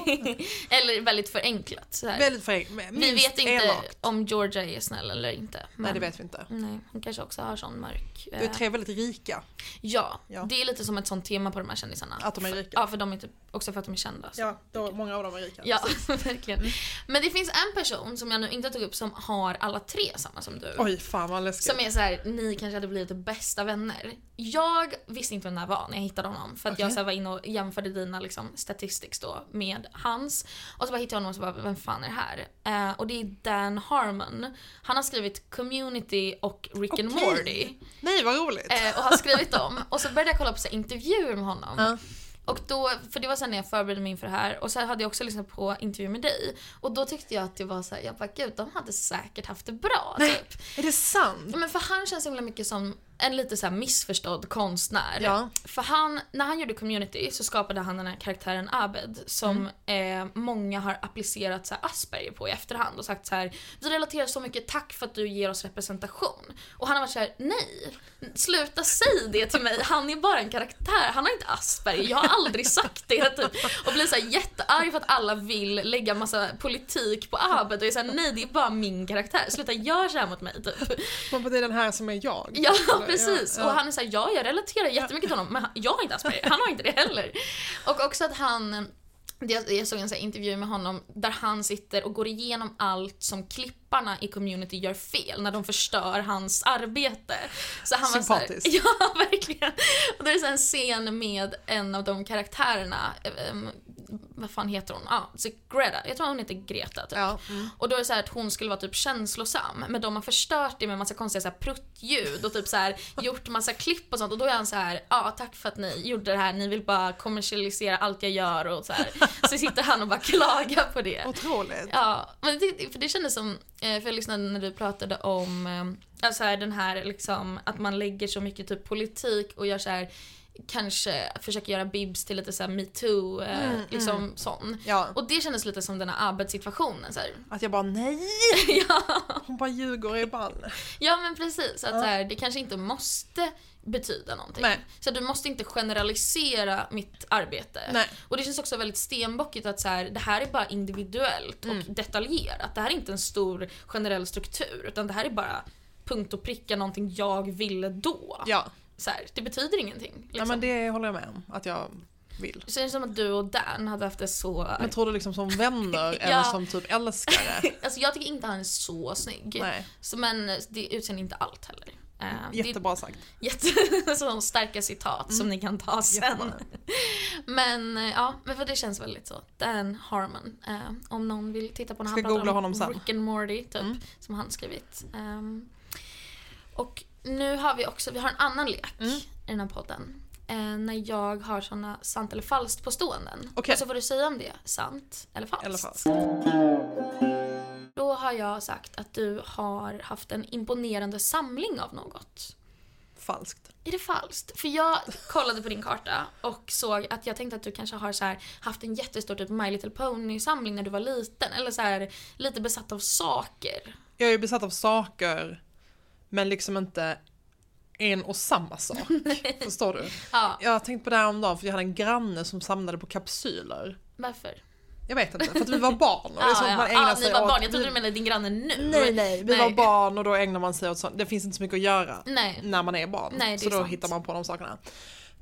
Speaker 1: Eller väldigt förenklat. Så här.
Speaker 2: väldigt förenklat.
Speaker 1: Vi vet inte
Speaker 2: Elak.
Speaker 1: om Georgia är snäll eller inte.
Speaker 2: Nej
Speaker 1: men-
Speaker 2: det vet vi inte.
Speaker 1: Nej, hon kanske också har sån mörk...
Speaker 2: Det är
Speaker 1: eh,
Speaker 2: tre väldigt rika.
Speaker 1: ja,
Speaker 2: Ja.
Speaker 1: det är lite som ett sånt tema på de här kändisarna.
Speaker 2: Att de är rika.
Speaker 1: Ja, för de är typ, också för att de är kända. så.
Speaker 2: Ja, då, många av dem är rika.
Speaker 1: Ja, verkligen. Men det finns en person som jag nu inte tog upp som har alla tre samma som du.
Speaker 2: Oj fan vad läskigt.
Speaker 1: Som är så här, ni kanske hade blivit bästa vänner. Jag visste inte vem den här var när jag hittade honom. För att jag
Speaker 2: Okej.
Speaker 1: så här var inne och jämförde dina liksom, statistics då med hans. Och så bara hittade jag honom och så bara, vem fan är det här? Eh, och det är Dan Harmon. Han har skrivit Community och Rick and
Speaker 2: Okej.
Speaker 1: Morty.
Speaker 2: Nej vad roligt.
Speaker 1: Eh, och har skrivit dem. Och så började jag kolla på så här, intervjuer med honom.
Speaker 2: Ja.
Speaker 1: Och då, för det var sen när jag förberedde mig inför det här och så hade jag också lyssnat på intervju med dig. Och då tyckte jag att det var så här, jag bara gud de hade säkert haft det bra.
Speaker 2: Nej.
Speaker 1: Typ.
Speaker 2: Är det sant?
Speaker 1: Ja, Men för han känns så himla mycket som en lite så här missförstådd konstnär.
Speaker 2: Ja.
Speaker 1: För han, när han gjorde community så skapade han den här karaktären Abed som eh, många har applicerat så här Asperger på i efterhand och sagt så här: vi relaterar så mycket, tack för att du ger oss representation. Och han har varit så här: nej, sluta säg det till mig, han är bara en karaktär, han har inte Asperger, jag har aldrig sagt det. Typ. Och blir så här jättearg för att alla vill lägga massa politik på Abed och är såhär, nej det är bara min karaktär, sluta gör såhär mot mig typ.
Speaker 2: Man bara, det är den här som är jag.
Speaker 1: Ja
Speaker 2: Eller,
Speaker 1: precis,
Speaker 2: ja,
Speaker 1: och
Speaker 2: ja.
Speaker 1: han är såhär, ja jag relaterar jättemycket till honom men han- jag har inte Asperger, han har inte det heller. Och också att han, jag jag såg en så här intervju med honom där han sitter och går igenom allt som klipparna i community gör fel när de förstör hans arbete. Så han Var så
Speaker 2: Sympatiskt.
Speaker 1: här, ja verkligen. Och då är det så här en scen med en av de karaktärerna, eh, em, vad fan heter hon? Ja, så Greta, jag tror hon heter Greta typ.
Speaker 2: Ja, mm.
Speaker 1: Och då är det så här att hon skulle vara typ känslosam men de har förstört det med massa konstiga så här pruttljud och typ så här gjort massa klipp och sånt och då är han så här, ja tack för att ni gjorde det här, ni vill bara kommersialisera allt jag gör och så här. Så sitter han och bara klagar på det.
Speaker 2: Otroligt.
Speaker 1: Ja, men det, för det kändes som, eh, för jag lyssnade när du pratade om eh, alltså här, den här liksom att man lägger så mycket typ politik och gör så här kanske försöker göra bibs till lite såhär metoo, eh,
Speaker 2: Mm,
Speaker 1: liksom sån.
Speaker 2: Ja.
Speaker 1: Och det kändes lite som den här Abed-situationen så här.
Speaker 2: Att jag bara nej! Hon bara ljuger i ball.
Speaker 1: Ja men precis, att
Speaker 2: Ja.
Speaker 1: så här, det kanske inte måste betyda någonting.
Speaker 2: Nej.
Speaker 1: Så du måste inte generalisera mitt arbete.
Speaker 2: Nej.
Speaker 1: Och det känns också väldigt stenbockigt att så här, det här är bara individuellt och
Speaker 2: Mm.
Speaker 1: detaljerat. Det här är inte en stor generell struktur utan det här är bara punkt och pricka någonting jag ville då.
Speaker 2: Ja,
Speaker 1: Så här, det betyder ingenting. Liksom.
Speaker 2: ja men det håller jag med om att jag vill.
Speaker 1: Så det känns som att du och Dan hade haft det så...
Speaker 2: Men tror du liksom som vänner eller
Speaker 1: Ja.
Speaker 2: som typ älskare?
Speaker 1: Alltså jag tycker inte han är så snygg.
Speaker 2: Nej,
Speaker 1: Så, men det utseende är inte allt heller. Eh, det är
Speaker 2: jättebra sagt.
Speaker 1: Jätte, sådana starka citat som ni kan ta sen.
Speaker 2: Mm. Jättebra.
Speaker 1: Men eh, ja, men för det känns väldigt så. Dan Harmon. Eh, om någon vill titta på när
Speaker 2: Ska
Speaker 1: han pratar
Speaker 2: googla
Speaker 1: om
Speaker 2: honom sen.
Speaker 1: Rick and Morty typ,
Speaker 2: Mm.
Speaker 1: som han skrivit. Ehm, och nu har vi också, vi har en annan lek
Speaker 2: Mm.
Speaker 1: i den här podden. Eh, när jag har såna sant eller falskt påståenden.
Speaker 2: Okej.
Speaker 1: Och så får du säga om det är sant eller falskt.
Speaker 2: Eller falskt.
Speaker 1: Då har jag sagt att du har haft en imponerande samling av något.
Speaker 2: falskt.
Speaker 1: Är det falskt? För jag kollade på din karta och såg att jag tänkte att du kanske har så här, haft en jättestor typ My Little Pony-samling när du var liten. Eller så här, lite besatt av saker.
Speaker 2: Jag är ju besatt av saker, men liksom inte en och samma sak. förstår du?
Speaker 1: Ja,
Speaker 2: Jag har tänkt på det här om dagen för jag hade en granne som samlade på kapsyler.
Speaker 1: varför?
Speaker 2: Jag vet inte, för att vi var barn. Och det är sånt man ägnar
Speaker 1: ja, ni
Speaker 2: sig
Speaker 1: var
Speaker 2: åt.
Speaker 1: barn. Jag trodde
Speaker 2: Vi-
Speaker 1: du menade din granne nu.
Speaker 2: Nej nej, vi
Speaker 1: Nej.
Speaker 2: var barn och då ägnar man sig åt sånt. Det finns inte så mycket att göra
Speaker 1: Nej.
Speaker 2: när man är barn.
Speaker 1: Nej, det är
Speaker 2: så då
Speaker 1: sant.
Speaker 2: hittar man på de sakerna.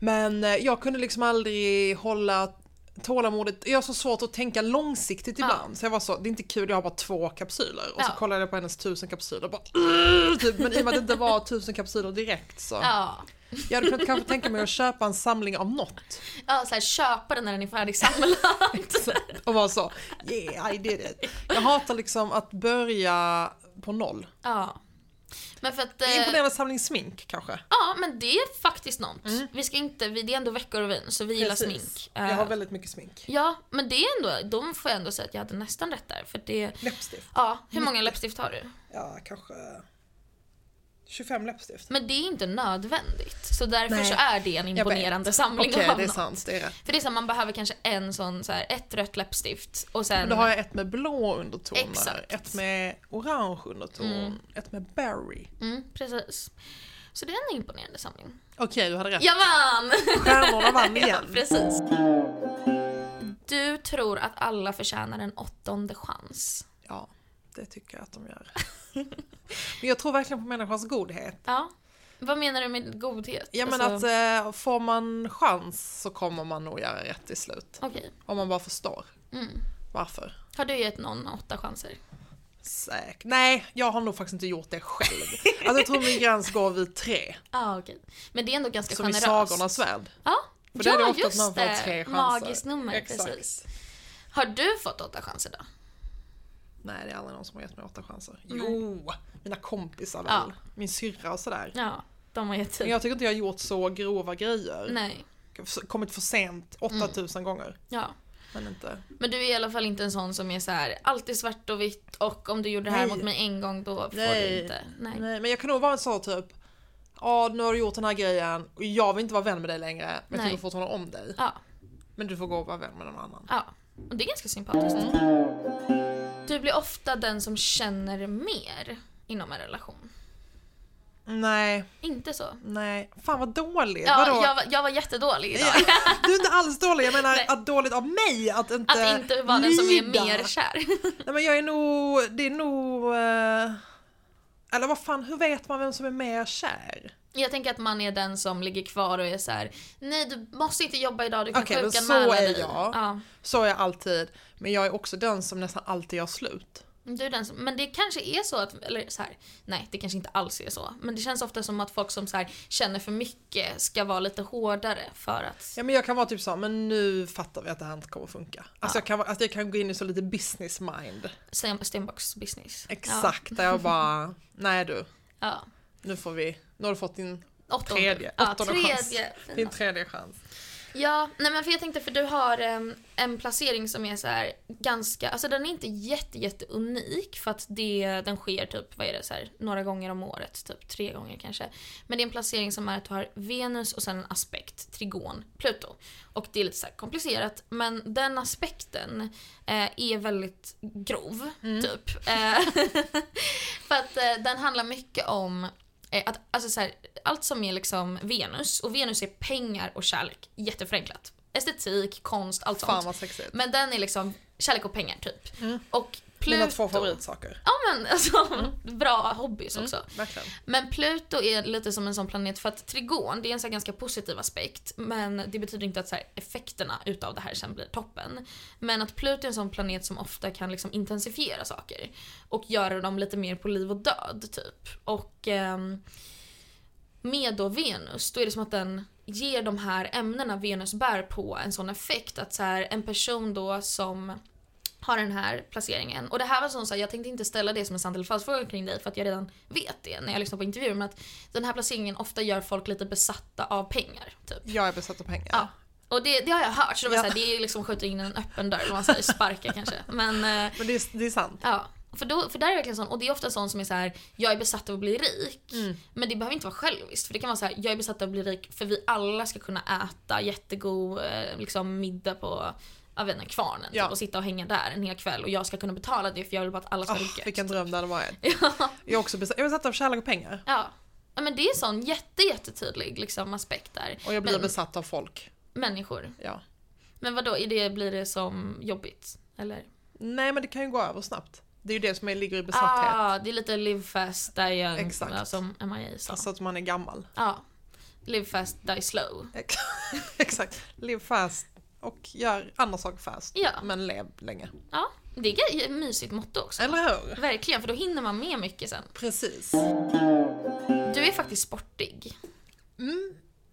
Speaker 2: Men eh, jag kunde liksom aldrig hålla tålamodet. Jag har så svårt att tänka långsiktigt
Speaker 1: Ja.
Speaker 2: ibland. Så jag var så, det är inte kul, jag har bara två kapsyler. Och så
Speaker 1: Ja.
Speaker 2: kollade jag på hennes tusen kapsyler och bara "Ugh", typ. Men i och med att det inte var tusen kapsyler direkt så.
Speaker 1: Ja,
Speaker 2: Jag hade kunnat kanske tänka mig att köpa en samling av något.
Speaker 1: ja så här, köpa den när den är färdigsamlad.
Speaker 2: Och vara så, yeah I did it. Jag hatar liksom att börja på noll.
Speaker 1: ja. Men för att... eh,
Speaker 2: Imponerande samling smink kanske.
Speaker 1: Ja, men det är faktiskt något. Vi ska inte, vi, det är ändå veckor och vin, så vi gillar
Speaker 2: Mm. Precis.
Speaker 1: smink.
Speaker 2: Jag har
Speaker 1: Eh,
Speaker 2: väldigt mycket smink.
Speaker 1: Ja, men det är ändå, de får jag ändå säga att jag hade nästan rätt där. För det,
Speaker 2: Läppstift.
Speaker 1: ja, hur många läppstift har du?
Speaker 2: Ja, kanske 25 läppstift.
Speaker 1: Men det är inte nödvändigt. Så därför
Speaker 2: Nej.
Speaker 1: så är det en
Speaker 2: vet.
Speaker 1: imponerande samling
Speaker 2: Okej,
Speaker 1: av
Speaker 2: det är
Speaker 1: något.
Speaker 2: sant. Det är rätt.
Speaker 1: För det är så här, man behöver kanske en sån, så här, ett rött läppstift och sen...
Speaker 2: Men då har jag ett med blå undertoner,
Speaker 1: Exakt.
Speaker 2: ett med orange underton, ett med berry.
Speaker 1: mm, precis. Så det är en imponerande samling.
Speaker 2: Okej, du hade rätt.
Speaker 1: Jag vann!
Speaker 2: Stjärnorna vann
Speaker 1: ja,
Speaker 2: igen.
Speaker 1: precis. Du tror att alla förtjänar en åttonde chans.
Speaker 2: Ja, det tycker jag att de gör. Men jag tror verkligen på människans godhet.
Speaker 1: Ja. Vad menar du med godhet?
Speaker 2: Jag menar
Speaker 1: Alltså-
Speaker 2: att eh, får man chans så kommer man nog göra rätt till slut.
Speaker 1: Okej.
Speaker 2: Om man bara förstår
Speaker 1: Mm.
Speaker 2: varför.
Speaker 1: Har du gett någon åtta chanser?
Speaker 2: Säkert. Nej, jag har nog faktiskt inte gjort det själv. Alltså, jag tror min gräns går vid tre.
Speaker 1: Ja, ah, okej. Men det är ändå ganska
Speaker 2: Som i
Speaker 1: generöst.
Speaker 2: Sagornas värld.
Speaker 1: Ja,
Speaker 2: För
Speaker 1: ja
Speaker 2: där är det ofta att
Speaker 1: just
Speaker 2: man får
Speaker 1: det.
Speaker 2: tre chanser.
Speaker 1: Magiskt nummer,
Speaker 2: Exakt.
Speaker 1: precis. Har du fått åtta chanser då?
Speaker 2: Nej, det är aldrig någon som har gett mig åtta chanser. Jo, mina kompisar väl.
Speaker 1: Ja.
Speaker 2: Min syrra och sådär.
Speaker 1: Ja, de har gett
Speaker 2: Men
Speaker 1: tid.
Speaker 2: jag tycker inte jag har gjort så grova grejer.
Speaker 1: Nej. Mm.
Speaker 2: Kommit för sent 8000 gånger.
Speaker 1: Ja.
Speaker 2: Men inte.
Speaker 1: Men du är i alla fall inte en sån som är så här alltid svart och vitt och om du gjorde det här
Speaker 2: Nej.
Speaker 1: mot mig en gång då får du
Speaker 2: Nej.
Speaker 1: inte. Nej.
Speaker 2: Nej, men jag kan nog vara en sån typ. Ja, nu har du gjort den här grejen och jag vill inte vara vän med dig längre. Men jag
Speaker 1: Nej.
Speaker 2: tycker fortfarande om dig.
Speaker 1: Ja,
Speaker 2: Men du får gå och vara vän med någon annan.
Speaker 1: ja. Och det är ganska sympatiskt.
Speaker 2: Mm.
Speaker 1: Du blir ofta den som känner mer inom en relation.
Speaker 2: Nej,
Speaker 1: Inte så?
Speaker 2: nej. Fan vad dåligt.
Speaker 1: Ja,
Speaker 2: Vadå?
Speaker 1: jag, var- jag var jättedålig idag.
Speaker 2: Du är inte alls dålig, jag menar
Speaker 1: Nej.
Speaker 2: att dåligt av mig att inte
Speaker 1: Att inte vara den som är
Speaker 2: lyda.
Speaker 1: mer kär.
Speaker 2: Nej men jag är nog, det är nog... eh, Eller vad fan, hur vet man vem som är mer kär?
Speaker 1: Jag tänker att man är den som ligger kvar och är så här: nej du måste inte jobba idag, du kan
Speaker 2: Okej, men
Speaker 1: sjukanmäla
Speaker 2: så är
Speaker 1: dig.
Speaker 2: jag.
Speaker 1: Ja.
Speaker 2: Så är jag alltid, men jag är också den som nästan alltid gör slut.
Speaker 1: Du är den som, men det kanske är så att, eller så här, nej det kanske inte alls är så. Men det känns ofta som att folk som så här, känner för mycket ska vara lite hårdare för att,
Speaker 2: Ja men jag kan vara typ så, men nu fattar vi att det här inte kommer att funka. Alltså
Speaker 1: Ja.
Speaker 2: jag kan, vara- alltså jag kan gå in i så lite business mind.
Speaker 1: Sten- Stenbocks business.
Speaker 2: Exakt, där jag bara, nej du,
Speaker 1: Ja.
Speaker 2: nu får vi, nu har du fått din,
Speaker 1: ja. Åttonde.
Speaker 2: Tredje.
Speaker 1: Ja,
Speaker 2: Åttonde
Speaker 1: tredje.
Speaker 2: din
Speaker 1: Fina.
Speaker 2: tredje chans.
Speaker 1: Ja, nej men för jag tänkte för du har em, en placering som är så här ganska, alltså den är inte jätte, jätte unik för att det, den sker typ, vad är det, så här, några gånger om året, typ tre gånger kanske. Men det är en placering som är att du har Venus och sen en aspekt, trigon, Pluto. Och det är lite så här komplicerat men den aspekten eh, är väldigt grov,
Speaker 2: Mm.
Speaker 1: typ. Eh, för att eh, den handlar mycket om eh, att, alltså så här, allt som är liksom Venus, och Venus är pengar och kärlek, jätteförenklat. Estetik, konst, allt
Speaker 2: Fan
Speaker 1: sånt.
Speaker 2: vad sexigt.
Speaker 1: Men den är liksom kärlek och pengar typ.
Speaker 2: Mm.
Speaker 1: Och Pluto...
Speaker 2: Mina två Mm. favoritsaker.
Speaker 1: Ja men alltså, bra hobbys också.
Speaker 2: Verkligen.
Speaker 1: Men Pluto är lite som en sån planet för att trigon det är en så här ganska positiv aspekt men det betyder inte att så här effekterna utav det här sen blir toppen. Men att Pluto är en sån planet som ofta kan liksom intensifiera saker och göra dem lite mer på liv och död typ. Och ehm, med då Venus, då är det som att den ger de här ämnena Venus bär på en sån effekt att så här, en person då som har den här placeringen. Och det här var sån så här, jag tänkte inte ställa det som en sant eller falsk fråga kring dig för att jag redan vet det när jag lyssnar på intervjuer men att den här placeringen ofta gör folk lite besatta av pengar. Typ.
Speaker 2: Jag är besatt av pengar.
Speaker 1: Ja. Och det, det har jag hört så det var
Speaker 2: Ja.
Speaker 1: så här, det är liksom skjuta in en öppen dörr, vad man säger sparka kanske. Men eh,
Speaker 2: Men det är, det är sant.
Speaker 1: ja. För, då, för där är det verkligen sån, och det är ofta sån som är så här: jag är besatt av att bli rik.
Speaker 2: Mm.
Speaker 1: Men det behöver inte vara själviskt. För det kan vara så här: jag är besatt av att bli rik för vi alla ska kunna äta jättegod eh, liksom, middag på jag vet inte, kvarnen
Speaker 2: Ja.
Speaker 1: typ, och sitta och hänga där en hel kväll och jag ska kunna betala det för jag vill bara att alla ska ha
Speaker 2: Åh,
Speaker 1: oh,
Speaker 2: vilken dröm det hade varit.
Speaker 1: ja.
Speaker 2: Jag är också besatt, jag är besatt av kärlek och pengar.
Speaker 1: ja. Ja, men det är en sån jätte, jättetydlig liksom, aspekt där.
Speaker 2: Och jag blir
Speaker 1: Men-
Speaker 2: besatt av folk.
Speaker 1: Människor.
Speaker 2: Ja.
Speaker 1: Men vad då är det, blir det som jobbigt? Eller?
Speaker 2: Nej men det kan ju gå över snabbt. Det är ju det som är- ligger i besatthet.
Speaker 1: Ah, det är lite live fast, die young,
Speaker 2: Exakt.
Speaker 1: ja, som MIA sa.
Speaker 2: Så Alltså, att man är gammal.
Speaker 1: Ja. Live fast, die slow.
Speaker 2: Ex- Exakt. Lev fast och gör andra saker fast.
Speaker 1: Ja.
Speaker 2: Men lev länge.
Speaker 1: Ja, det är ett mysigt motto också.
Speaker 2: Eller hur?
Speaker 1: Verkligen, för då hinner man med mycket sen.
Speaker 2: Precis.
Speaker 1: Du är faktiskt sportig.
Speaker 2: Mm,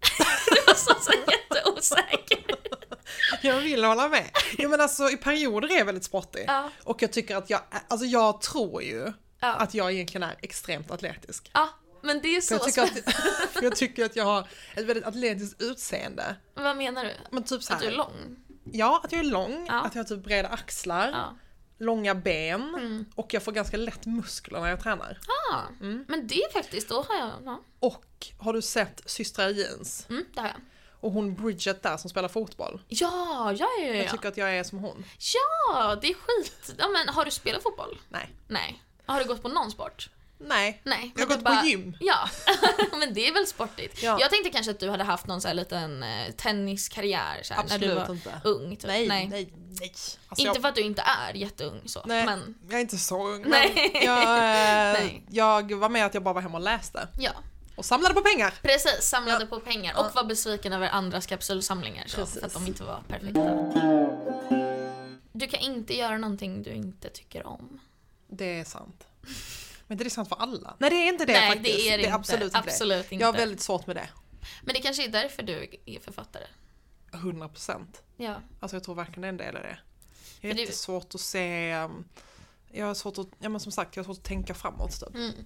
Speaker 1: Du var så, så jätteosäker.
Speaker 2: jag vill hålla med. Jo men alltså i perioder är jag väldigt sportig.
Speaker 1: Ja.
Speaker 2: Och jag tycker att jag, alltså jag tror ju
Speaker 1: Ja.
Speaker 2: att jag egentligen är extremt atletisk.
Speaker 1: ja, men det är
Speaker 2: För
Speaker 1: så
Speaker 2: jag, tycker
Speaker 1: spännande.
Speaker 2: att, för jag tycker att jag har ett väldigt atletiskt utseende.
Speaker 1: Vad menar du?
Speaker 2: Men typ så
Speaker 1: Att du är
Speaker 2: här,
Speaker 1: lång?
Speaker 2: Ja, att jag är lång,
Speaker 1: Ja.
Speaker 2: att jag har typ breda axlar,
Speaker 1: Ja. Mm.
Speaker 2: långa ben och jag får ganska lätt muskler när jag tränar.
Speaker 1: Ah,
Speaker 2: Mm.
Speaker 1: Men det är faktiskt, då har jag... Ja.
Speaker 2: Och har du sett Systrar Jeans?
Speaker 1: Mm, det har jag.
Speaker 2: Och hon Bridget där som spelar fotboll.
Speaker 1: Ja, ja, ja,
Speaker 2: Jag
Speaker 1: ja.
Speaker 2: tycker att jag är som hon.
Speaker 1: Ja, det är skit. Ja, men har du spelat fotboll?
Speaker 2: Nej.
Speaker 1: Nej. Har du gått på någon sport?
Speaker 2: Nej.
Speaker 1: Nej.
Speaker 2: Jag har
Speaker 1: men
Speaker 2: gått
Speaker 1: du
Speaker 2: på gym.
Speaker 1: Ja, men det är väl sportigt.
Speaker 2: Ja.
Speaker 1: Jag tänkte kanske att du hade haft någon så här liten eh, tenniskarriär så här, när du
Speaker 2: Absolut
Speaker 1: var
Speaker 2: inte.
Speaker 1: ung. Typ.
Speaker 2: nej, nej. Alltså
Speaker 1: Inte
Speaker 2: jag,
Speaker 1: för att du inte är jätteung så,
Speaker 2: nej,
Speaker 1: men
Speaker 2: jag är inte så ung. men
Speaker 1: Nej.
Speaker 2: Jag, eh,
Speaker 1: Nej.
Speaker 2: jag var med att jag bara var hemma och läste.
Speaker 1: ja.
Speaker 2: Och samlade på pengar.
Speaker 1: Precis, samlade på pengar och var besviken över andras kapsulsamlingar så,
Speaker 2: Precis.
Speaker 1: för att de inte var perfekta. Du kan inte göra någonting du inte tycker om.
Speaker 2: Det är sant. Men det är sant för alla. Nej det är inte det
Speaker 1: Nej,
Speaker 2: faktiskt.
Speaker 1: det är det, inte.
Speaker 2: absolut inte.
Speaker 1: absolut
Speaker 2: det.
Speaker 1: inte.
Speaker 2: Jag har väldigt svårt med det.
Speaker 1: Men det kanske är därför du är författare.
Speaker 2: 100 procent.
Speaker 1: Ja.
Speaker 2: Alltså jag tror verkligen det är en del av det. Jag
Speaker 1: För
Speaker 2: har
Speaker 1: det-
Speaker 2: jättesvårt att se... um, Jag har svårt att, ja men som sagt, jag har svårt att tänka framåt typ.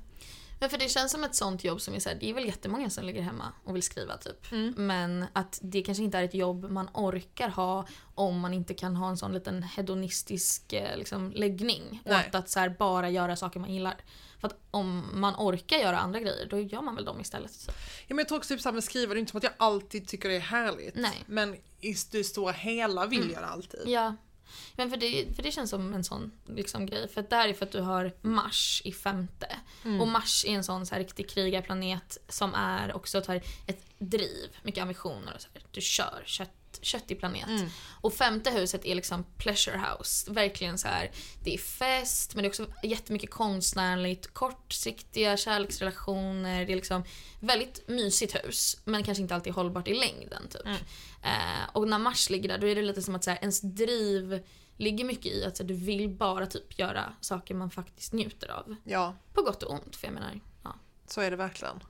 Speaker 1: Men för det känns som ett sånt jobb som är såhär, det är väl jättemånga som ligger hemma och vill skriva typ. Men att det kanske inte är ett jobb man orkar ha om man inte kan ha en sån liten hedonistisk eh, liksom, läggning. Och
Speaker 2: Nej.
Speaker 1: att, att så här, bara göra saker man gillar. För att om man orkar göra andra grejer, då gör man väl dem istället. Så.
Speaker 2: Ja, men jag tror också typ såhär med skriva, det är inte som att jag alltid tycker det är härligt.
Speaker 1: Nej. Mm.
Speaker 2: Men i det stora hela vill jag det alltid.
Speaker 1: Ja. Men för det, för det känns som en sån liksom, grej. För att det här är för att du har Mars i femte. Och Mars är en sån så här, riktig krigarplanet som är också tar ett driv, mycket ambitioner och så här. Du kör, kött, köttig planet. Och femte huset är liksom pleasure house. Verkligen så här, det är fest men det är också jättemycket konstnärligt, kortsiktiga kärleksrelationer. Det är liksom väldigt mysigt hus men kanske inte alltid hållbart i längden typ. Eh, och när Mars ligger där då är det lite som att så här, ens driv ligger mycket i att så här, du vill bara typ göra saker man faktiskt njuter av.
Speaker 2: Ja,
Speaker 1: På gott och ont för jag menar. Ja.
Speaker 2: så är det verkligen.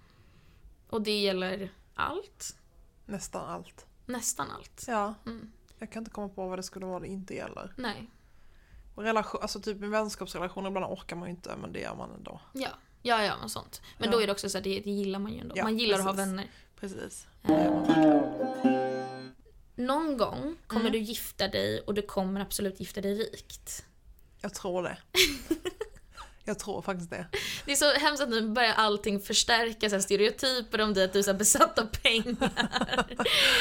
Speaker 1: Och det gäller allt.
Speaker 2: Nästan allt.
Speaker 1: Nästan allt.
Speaker 2: Ja.
Speaker 1: Mm.
Speaker 2: Jag kan inte komma på vad det skulle vara det inte gäller.
Speaker 1: Nej.
Speaker 2: Och relation, alltså typ med vänskapsrelationer ibland orkar man ju inte men det gör man ändå.
Speaker 1: Ja. Ja, ja, och sånt. Men
Speaker 2: Ja.
Speaker 1: då är det också så här, det, det gillar man ju ändå.
Speaker 2: Ja,
Speaker 1: man gillar att ha
Speaker 2: precis.
Speaker 1: vänner.
Speaker 2: Precis. Det gör man verkligen.
Speaker 1: Någon gång kommer
Speaker 2: Mm.
Speaker 1: du gifta dig och du kommer absolut gifta dig rikt.
Speaker 2: Jag tror det. jag tror faktiskt det.
Speaker 1: Det är så hemskt att nu börjar allting förstärka så här, stereotyper om dig att du är så här, besatt av pengar.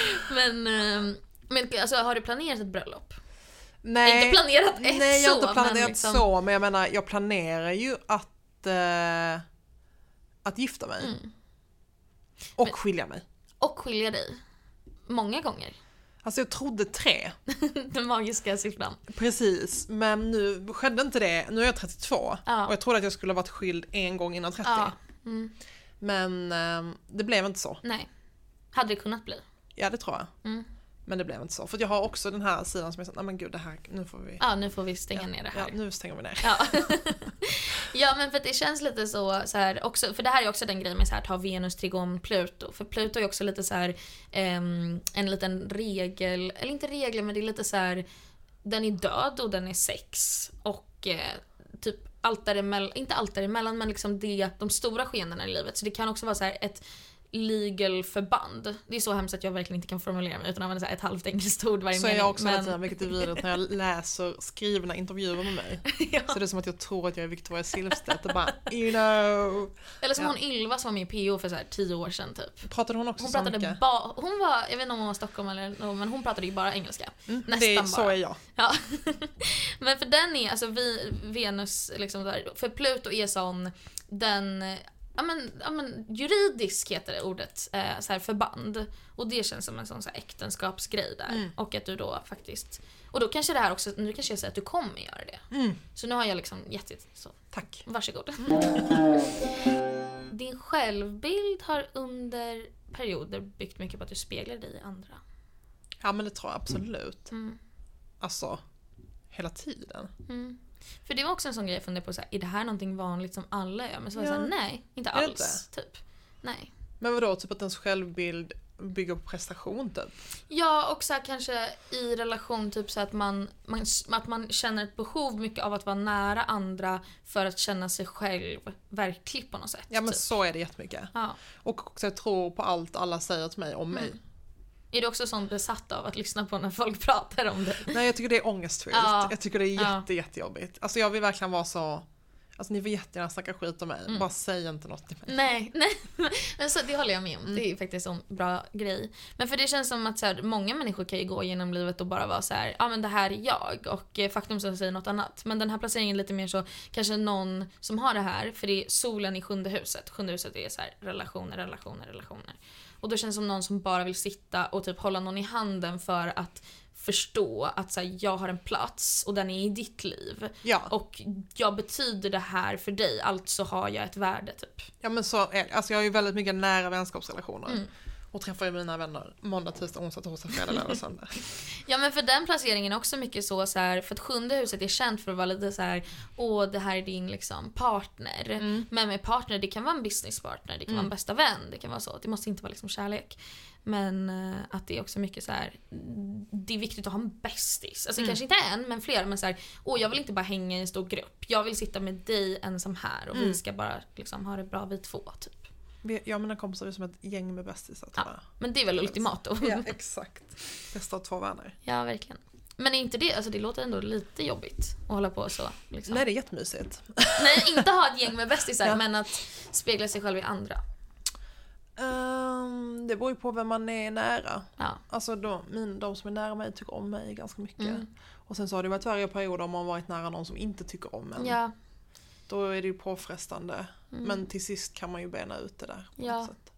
Speaker 1: men, eh, men alltså, har du planerat ett bröllop?
Speaker 2: Nej,
Speaker 1: Inte planerat ett
Speaker 2: nej, jag har
Speaker 1: så,
Speaker 2: inte planerat
Speaker 1: men liksom-
Speaker 2: så men jag menar jag planerar ju att, eh, att gifta mig.
Speaker 1: Mm.
Speaker 2: Och skilja mig.
Speaker 1: Och skilja dig? Många gånger.
Speaker 2: Alltså jag trodde tre,
Speaker 1: Den magiska siffran.
Speaker 2: precis. Men nu skedde inte det. Nu är jag 32
Speaker 1: Ja.
Speaker 2: och jag trodde att jag skulle ha varit skild en gång innan 30.
Speaker 1: Ja. Mm.
Speaker 2: Men ehm, det blev inte så.
Speaker 1: Nej. Hade det kunnat bli?
Speaker 2: Ja det tror jag.
Speaker 1: Mm.
Speaker 2: Men det blev inte så. För att jag har också den här sidan som jag sa, nej men gud det här, nu får vi...
Speaker 1: Ja, nu får vi stänga ner det här.
Speaker 2: Ja, nu stänger vi ner.
Speaker 1: Ja. ja men för att det känns lite så, så här, också, för det här är också den grejen med så här, ta Venus, Trigon, Pluto. För Pluto är också lite så här ehm, en liten regel, eller inte regel men det är lite så här den är död och den är sex och eh, typ allt däremellan, inte allt däremellan men liksom det, de stora skeendena i livet. Så det kan också vara så här ett legal förband. Det är så hemskt att jag verkligen inte kan formulera mig utan använder så här ett halvt engelskt ord varje
Speaker 2: Så är
Speaker 1: mening.
Speaker 2: jag också hela
Speaker 1: men,
Speaker 2: tiden, vilket är vidrigt när jag läser skrivna intervjuer med mig.
Speaker 1: ja.
Speaker 2: Så det är som att jag tror att jag är Victoria Silvstedt och bara you know.
Speaker 1: Eller som
Speaker 2: Ja.
Speaker 1: hon Ylva som var med i PO för så här tio år sedan typ.
Speaker 2: Pratade hon också
Speaker 1: Hon
Speaker 2: så
Speaker 1: pratade
Speaker 2: mycket?
Speaker 1: bara, hon var, jag vet inte om hon var i Stockholm eller nå- men hon pratade ju bara engelska.
Speaker 2: Mm,
Speaker 1: nästan
Speaker 2: det är, Så
Speaker 1: bara.
Speaker 2: är jag.
Speaker 1: Ja. men för den är, alltså vi, Venus, liksom där, för Pluto är sån, den, eh, ja men, ja men juridisk heter det ordet, eh, så här förband. Och det känns som en sån så här äktenskapsgrej där.
Speaker 2: Mm.
Speaker 1: Och att du då faktiskt, och då kanske det här också, nu kanske jag säger att du kommer göra det.
Speaker 2: Mm,
Speaker 1: Så nu har jag liksom gett det, så
Speaker 2: tack.
Speaker 1: varsågod.
Speaker 2: Mm.
Speaker 1: Din självbild har under perioder byggt mycket på att du speglar dig i andra.
Speaker 2: Ja men det tror jag absolut.
Speaker 1: Mm.
Speaker 2: Alltså, hela tiden.
Speaker 1: Mm. För det var också en sån grej jag funderade på, så här, är det här någonting vanligt som alla gör? Men så var jag
Speaker 2: Ja.
Speaker 1: såhär, nej, inte
Speaker 2: Är det
Speaker 1: alls. Typ. Nej.
Speaker 2: Men vadå, typ att ens självbild bygger på prestation typ?
Speaker 1: Ja, och så här, kanske i relation typ så att man, man, att man känner ett behov mycket av att vara nära andra för att känna sig själv verklig på något sätt.
Speaker 2: Ja men
Speaker 1: typ.
Speaker 2: så är det jättemycket.
Speaker 1: ja.
Speaker 2: Och också jag tror på allt alla säger till mig om mig.
Speaker 1: Mm. Är du också sån besatt av att lyssna på när folk pratar om dig?
Speaker 2: Nej jag tycker det är ångestfyllt.
Speaker 1: Ja.
Speaker 2: Jag tycker det är
Speaker 1: Ja.
Speaker 2: jätte, jättejobbigt. Alltså jag vill verkligen vara så, alltså ni får jättegärna snacka skit om mig,
Speaker 1: Mm.
Speaker 2: bara säg inte något till mig.
Speaker 1: Nej, nej. Men så, det håller jag med om. Det är faktiskt en bra grej. Men för det känns som att så här, många människor kan ju gå genom livet och bara vara så här, ja men det här är jag och eh, faktum som säger något annat. Men den här placeringen är lite mer så, kanske någon som har det här, för det är solen i sjunde huset. Sjunde huset är så här, relationer, relationer, relationer. Och då känns det som någon som bara vill sitta och typ hålla någon i handen för att förstå att så här, jag har en plats och den är i ditt liv.
Speaker 2: Ja,
Speaker 1: Och jag betyder det här för dig, alltså har jag ett värde typ.
Speaker 2: ja men så är det. Alltså jag har ju väldigt mycket nära vänskapsrelationer.
Speaker 1: Mm.
Speaker 2: Och träffar ju mina vänner måndag, tisdag, onsdag, torsdag, fredag, lördag,
Speaker 1: Mm.
Speaker 2: och söndag.
Speaker 1: Ja men för den placeringen är också mycket så, så här, för att sjunde huset är känt för att vara lite så här: åh det här är din liksom partner.
Speaker 2: Mm.
Speaker 1: Men med partner, det kan vara en businesspartner, det kan vara en bästa vän, det kan vara så. Det måste inte vara liksom kärlek. Men eh, att det är också mycket så här. det är viktigt att ha en bästis. Alltså kanske inte en, men flera. Men så här, åh jag vill inte bara hänga i en stor grupp. Jag vill sitta med dig ensam här och vi ska bara liksom ha det bra vi två. Typ.
Speaker 2: Vi- Jag och mina kompisar är som ett gäng med bästisar
Speaker 1: Ja.
Speaker 2: tror jag.
Speaker 1: Men det är väl ultimatum.
Speaker 2: Ja exakt. Bästa av två världar.
Speaker 1: Ja, verkligen. Men är inte det, alltså det låter ändå lite jobbigt att hålla på så. Liksom. Nej.
Speaker 2: Nej det är jättemysigt.
Speaker 1: inte ha ett gäng med bästisar
Speaker 2: Ja.
Speaker 1: men att spegla sig själv i andra.
Speaker 2: Ehm, det beror ju på vem man är nära.
Speaker 1: Ja.
Speaker 2: Alltså de, min, de som är nära mig tycker om mig ganska mycket.
Speaker 1: Mm.
Speaker 2: Och sen så har det varit värre perioder om man varit nära någon som inte tycker om en.
Speaker 1: Ja, Mm.
Speaker 2: Då är det ju påfrestande. Men till sist kan man ju bena ut det där. på
Speaker 1: Ja.
Speaker 2: något sätt.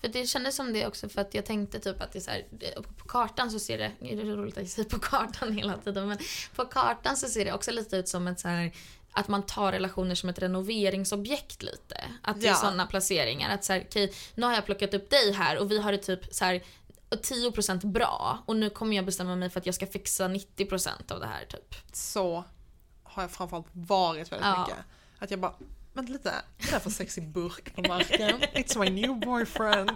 Speaker 1: för det kändes som det också för att jag tänkte typ att det är så här, det- på kartan så ser det, det är roligt att jag säger på kartan hela tiden men på kartan så ser det också lite ut som ett så här att man tar relationer som ett renoveringsobjekt lite. Att det är
Speaker 2: Ja.
Speaker 1: sådana placeringar. Att så här, okej, nu har jag plockat upp dig här och vi har det typ så här 10% bra och nu kommer jag bestämma mig för att jag ska fixa 90% av det här typ.
Speaker 2: Så har jag framförallt varit väldigt
Speaker 1: Ja.
Speaker 2: mycket. Att jag bara, vänta lite, det där för sexig burk på marken. It's my new boyfriend.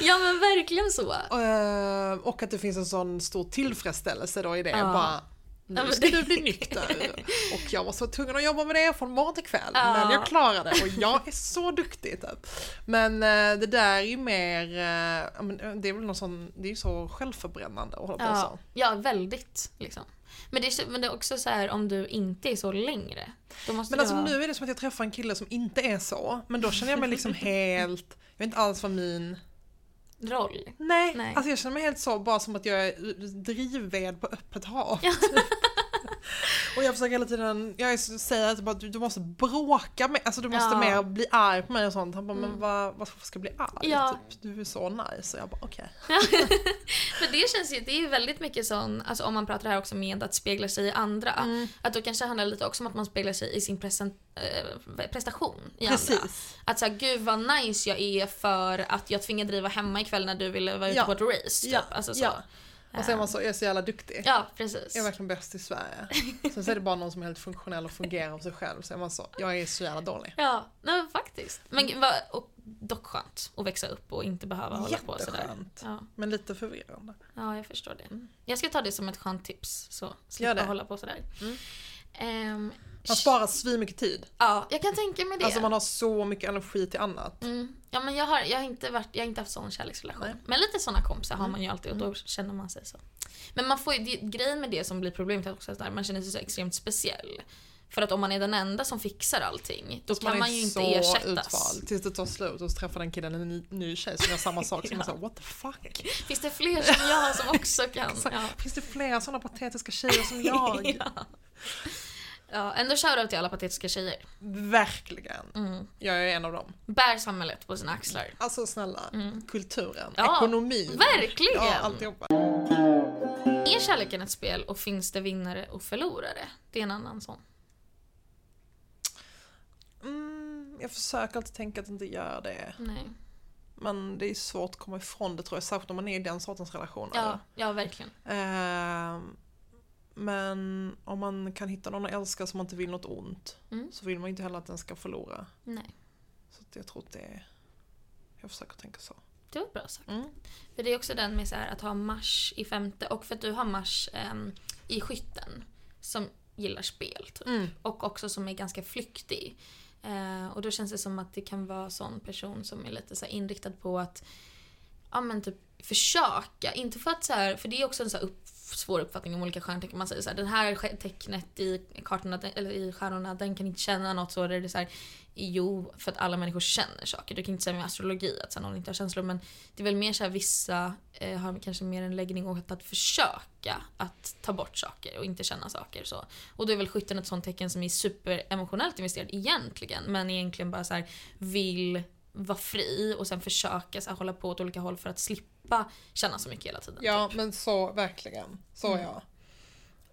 Speaker 1: Ja men verkligen så.
Speaker 2: Ehm, och att det finns en sån stor tillfredsställelse då i det.
Speaker 1: Ja.
Speaker 2: Bara,
Speaker 1: Ja,
Speaker 2: nu
Speaker 1: men
Speaker 2: ska
Speaker 1: det-
Speaker 2: du bli nykter. Och jag var så tvungen att jobba med det från morgon till kväll.
Speaker 1: Ja.
Speaker 2: Men jag klarade det och jag är så duktig. Typ. Men eh, det där är ju mer, eh, ja, men, eh, det är väl någon sån, det är ju så självförbrännande att hålla på
Speaker 1: Ja,
Speaker 2: så.
Speaker 1: ja väldigt liksom. Men det, men det är också så här om du inte är så längre. Då måste
Speaker 2: Men
Speaker 1: du
Speaker 2: alltså
Speaker 1: vara-
Speaker 2: nu är det som att jag träffar en kille som inte är så. Men då känner jag mig liksom helt, jag vet inte alls vad min
Speaker 1: roll.
Speaker 2: Nej,
Speaker 1: Nej.
Speaker 2: alltså jag känner mig helt så, bara som att jag är drivved på öppet hav. och jag försöker hela tiden, jag är så- säger att bara, du, du måste bråka med, alltså du måste
Speaker 1: Ja.
Speaker 2: mer bli arg på mig och sånt. Han bara,
Speaker 1: Mm.
Speaker 2: men vad, varför ska jag bli arg?
Speaker 1: Ja.
Speaker 2: Typ, du är så nice. Och jag bara, okej.
Speaker 1: För det känns ju, det är ju väldigt mycket sån, alltså om man pratar här också med att spegla sig i andra.
Speaker 2: Mm.
Speaker 1: Att då kanske det handlar lite också om att man speglar sig i sin presen, eh, prestation i andra.
Speaker 2: Precis.
Speaker 1: Att såhär, gud vad nice jag är för att jag tvingade dig vara hemma ikväll när du ville vara ute
Speaker 2: Ja.
Speaker 1: på ett race. Typ.
Speaker 2: Ja,
Speaker 1: Alltså så.
Speaker 2: ja. Och sen är
Speaker 1: Eh,
Speaker 2: man så, jag är så jävla duktig.
Speaker 1: ja precis.
Speaker 2: Jag är verkligen bäst i Sverige. Sen så är det bara någon som är helt funktionell och fungerar av sig själv. Så är man så, jag är så jävla dålig.
Speaker 1: Ja, nej, men faktiskt.
Speaker 2: Mm.
Speaker 1: Men vad, och dock skönt att växa upp och inte behöva hålla på sådär.
Speaker 2: Jätteskönt.
Speaker 1: Ja,
Speaker 2: Men lite förvirrande.
Speaker 1: ja, jag förstår det. Jag ska ta det som ett skönt tips så slippa
Speaker 2: Mm. Gör det.
Speaker 1: hålla på sådär.
Speaker 2: Mm.
Speaker 1: Ehm,
Speaker 2: Man sparar svinmycket tid.
Speaker 1: Ja, jag kan tänka mig det.
Speaker 2: Alltså man har så mycket energi till annat.
Speaker 1: Mm. Ja men jag har, jag har, inte varit, jag har inte haft sån kärleksrelation.
Speaker 2: Nej. Mm.
Speaker 1: Men lite såna kompisar har man ju alltid och då känner man sig så. Men man får ju, det, grejen med det som blir problemet är också att man känner sig så extremt speciell. För att om man är den enda som fixar allting, då
Speaker 2: Så
Speaker 1: kan
Speaker 2: är
Speaker 1: man ju inte
Speaker 2: så
Speaker 1: ersättas.
Speaker 2: utvald. Tills det tar slut och så träffar den killen en ny, ny tjej som gör samma sak. Så man säger what the fuck.
Speaker 1: Finns det fler som jag som också kan?
Speaker 2: Exakt.
Speaker 1: Ja.
Speaker 2: Finns det flera sådana patetiska tjejer som jag?
Speaker 1: Ja. ja, ändå shoutout till alla patetiska tjejer.
Speaker 2: Verkligen.
Speaker 1: Mm.
Speaker 2: Jag är en av dem.
Speaker 1: Bär samhället på sina axlar.
Speaker 2: Alltså snälla, kulturen,
Speaker 1: Mm. Ja,
Speaker 2: ekonomin.
Speaker 1: verkligen.
Speaker 2: Ja, alltihopa.
Speaker 1: Är kärleken ett spel och finns det vinnare och förlorare? Det är en annan sån.
Speaker 2: Mm, jag försöker alltid tänka att inte göra det.
Speaker 1: Nej.
Speaker 2: Men det är svårt att komma ifrån det tror jag, särskilt om man är i den sortens relationer.
Speaker 1: Ja, ja verkligen.
Speaker 2: Ehm, men om man kan hitta någon att älska som inte vill något ont
Speaker 1: Mm.
Speaker 2: så vill man inte heller att den ska förlora.
Speaker 1: Nej.
Speaker 2: Så att jag tror att det är... Jag försöker tänka så.
Speaker 1: Det var bra sagt.
Speaker 2: Mm.
Speaker 1: För det är också den med så här att ha Mars i femte och för att du har Mars ehm, i skytten som gillar spel typ. och också som är ganska flyktig. Eh, och då känns det som att det kan vara sån person som är lite så här inriktad på att ja men typ försöka. Inte för att så här, för det är också en så här upp, svår uppfattning om olika stjärntecken. Man säger så här, den här ske- tecknet i kartorna, den- eller i stjärnorna, den kan inte känna något så. Eller det är så här, jo, för att alla människor känner saker. Du kan inte säga med astrologi att så här, någon inte har känslor men det är väl mer så här vissa eh, har kanske mer en läggning åt att försöka att ta bort saker och inte känna saker så. Och då är väl skytten ett sånt tecken som är superemotionellt investerad egentligen men egentligen bara så här vill vara fri och sen försöka så här, hålla på åt olika håll för att slippa känna så mycket hela tiden. typ.
Speaker 2: Ja, men så verkligen. Så ja.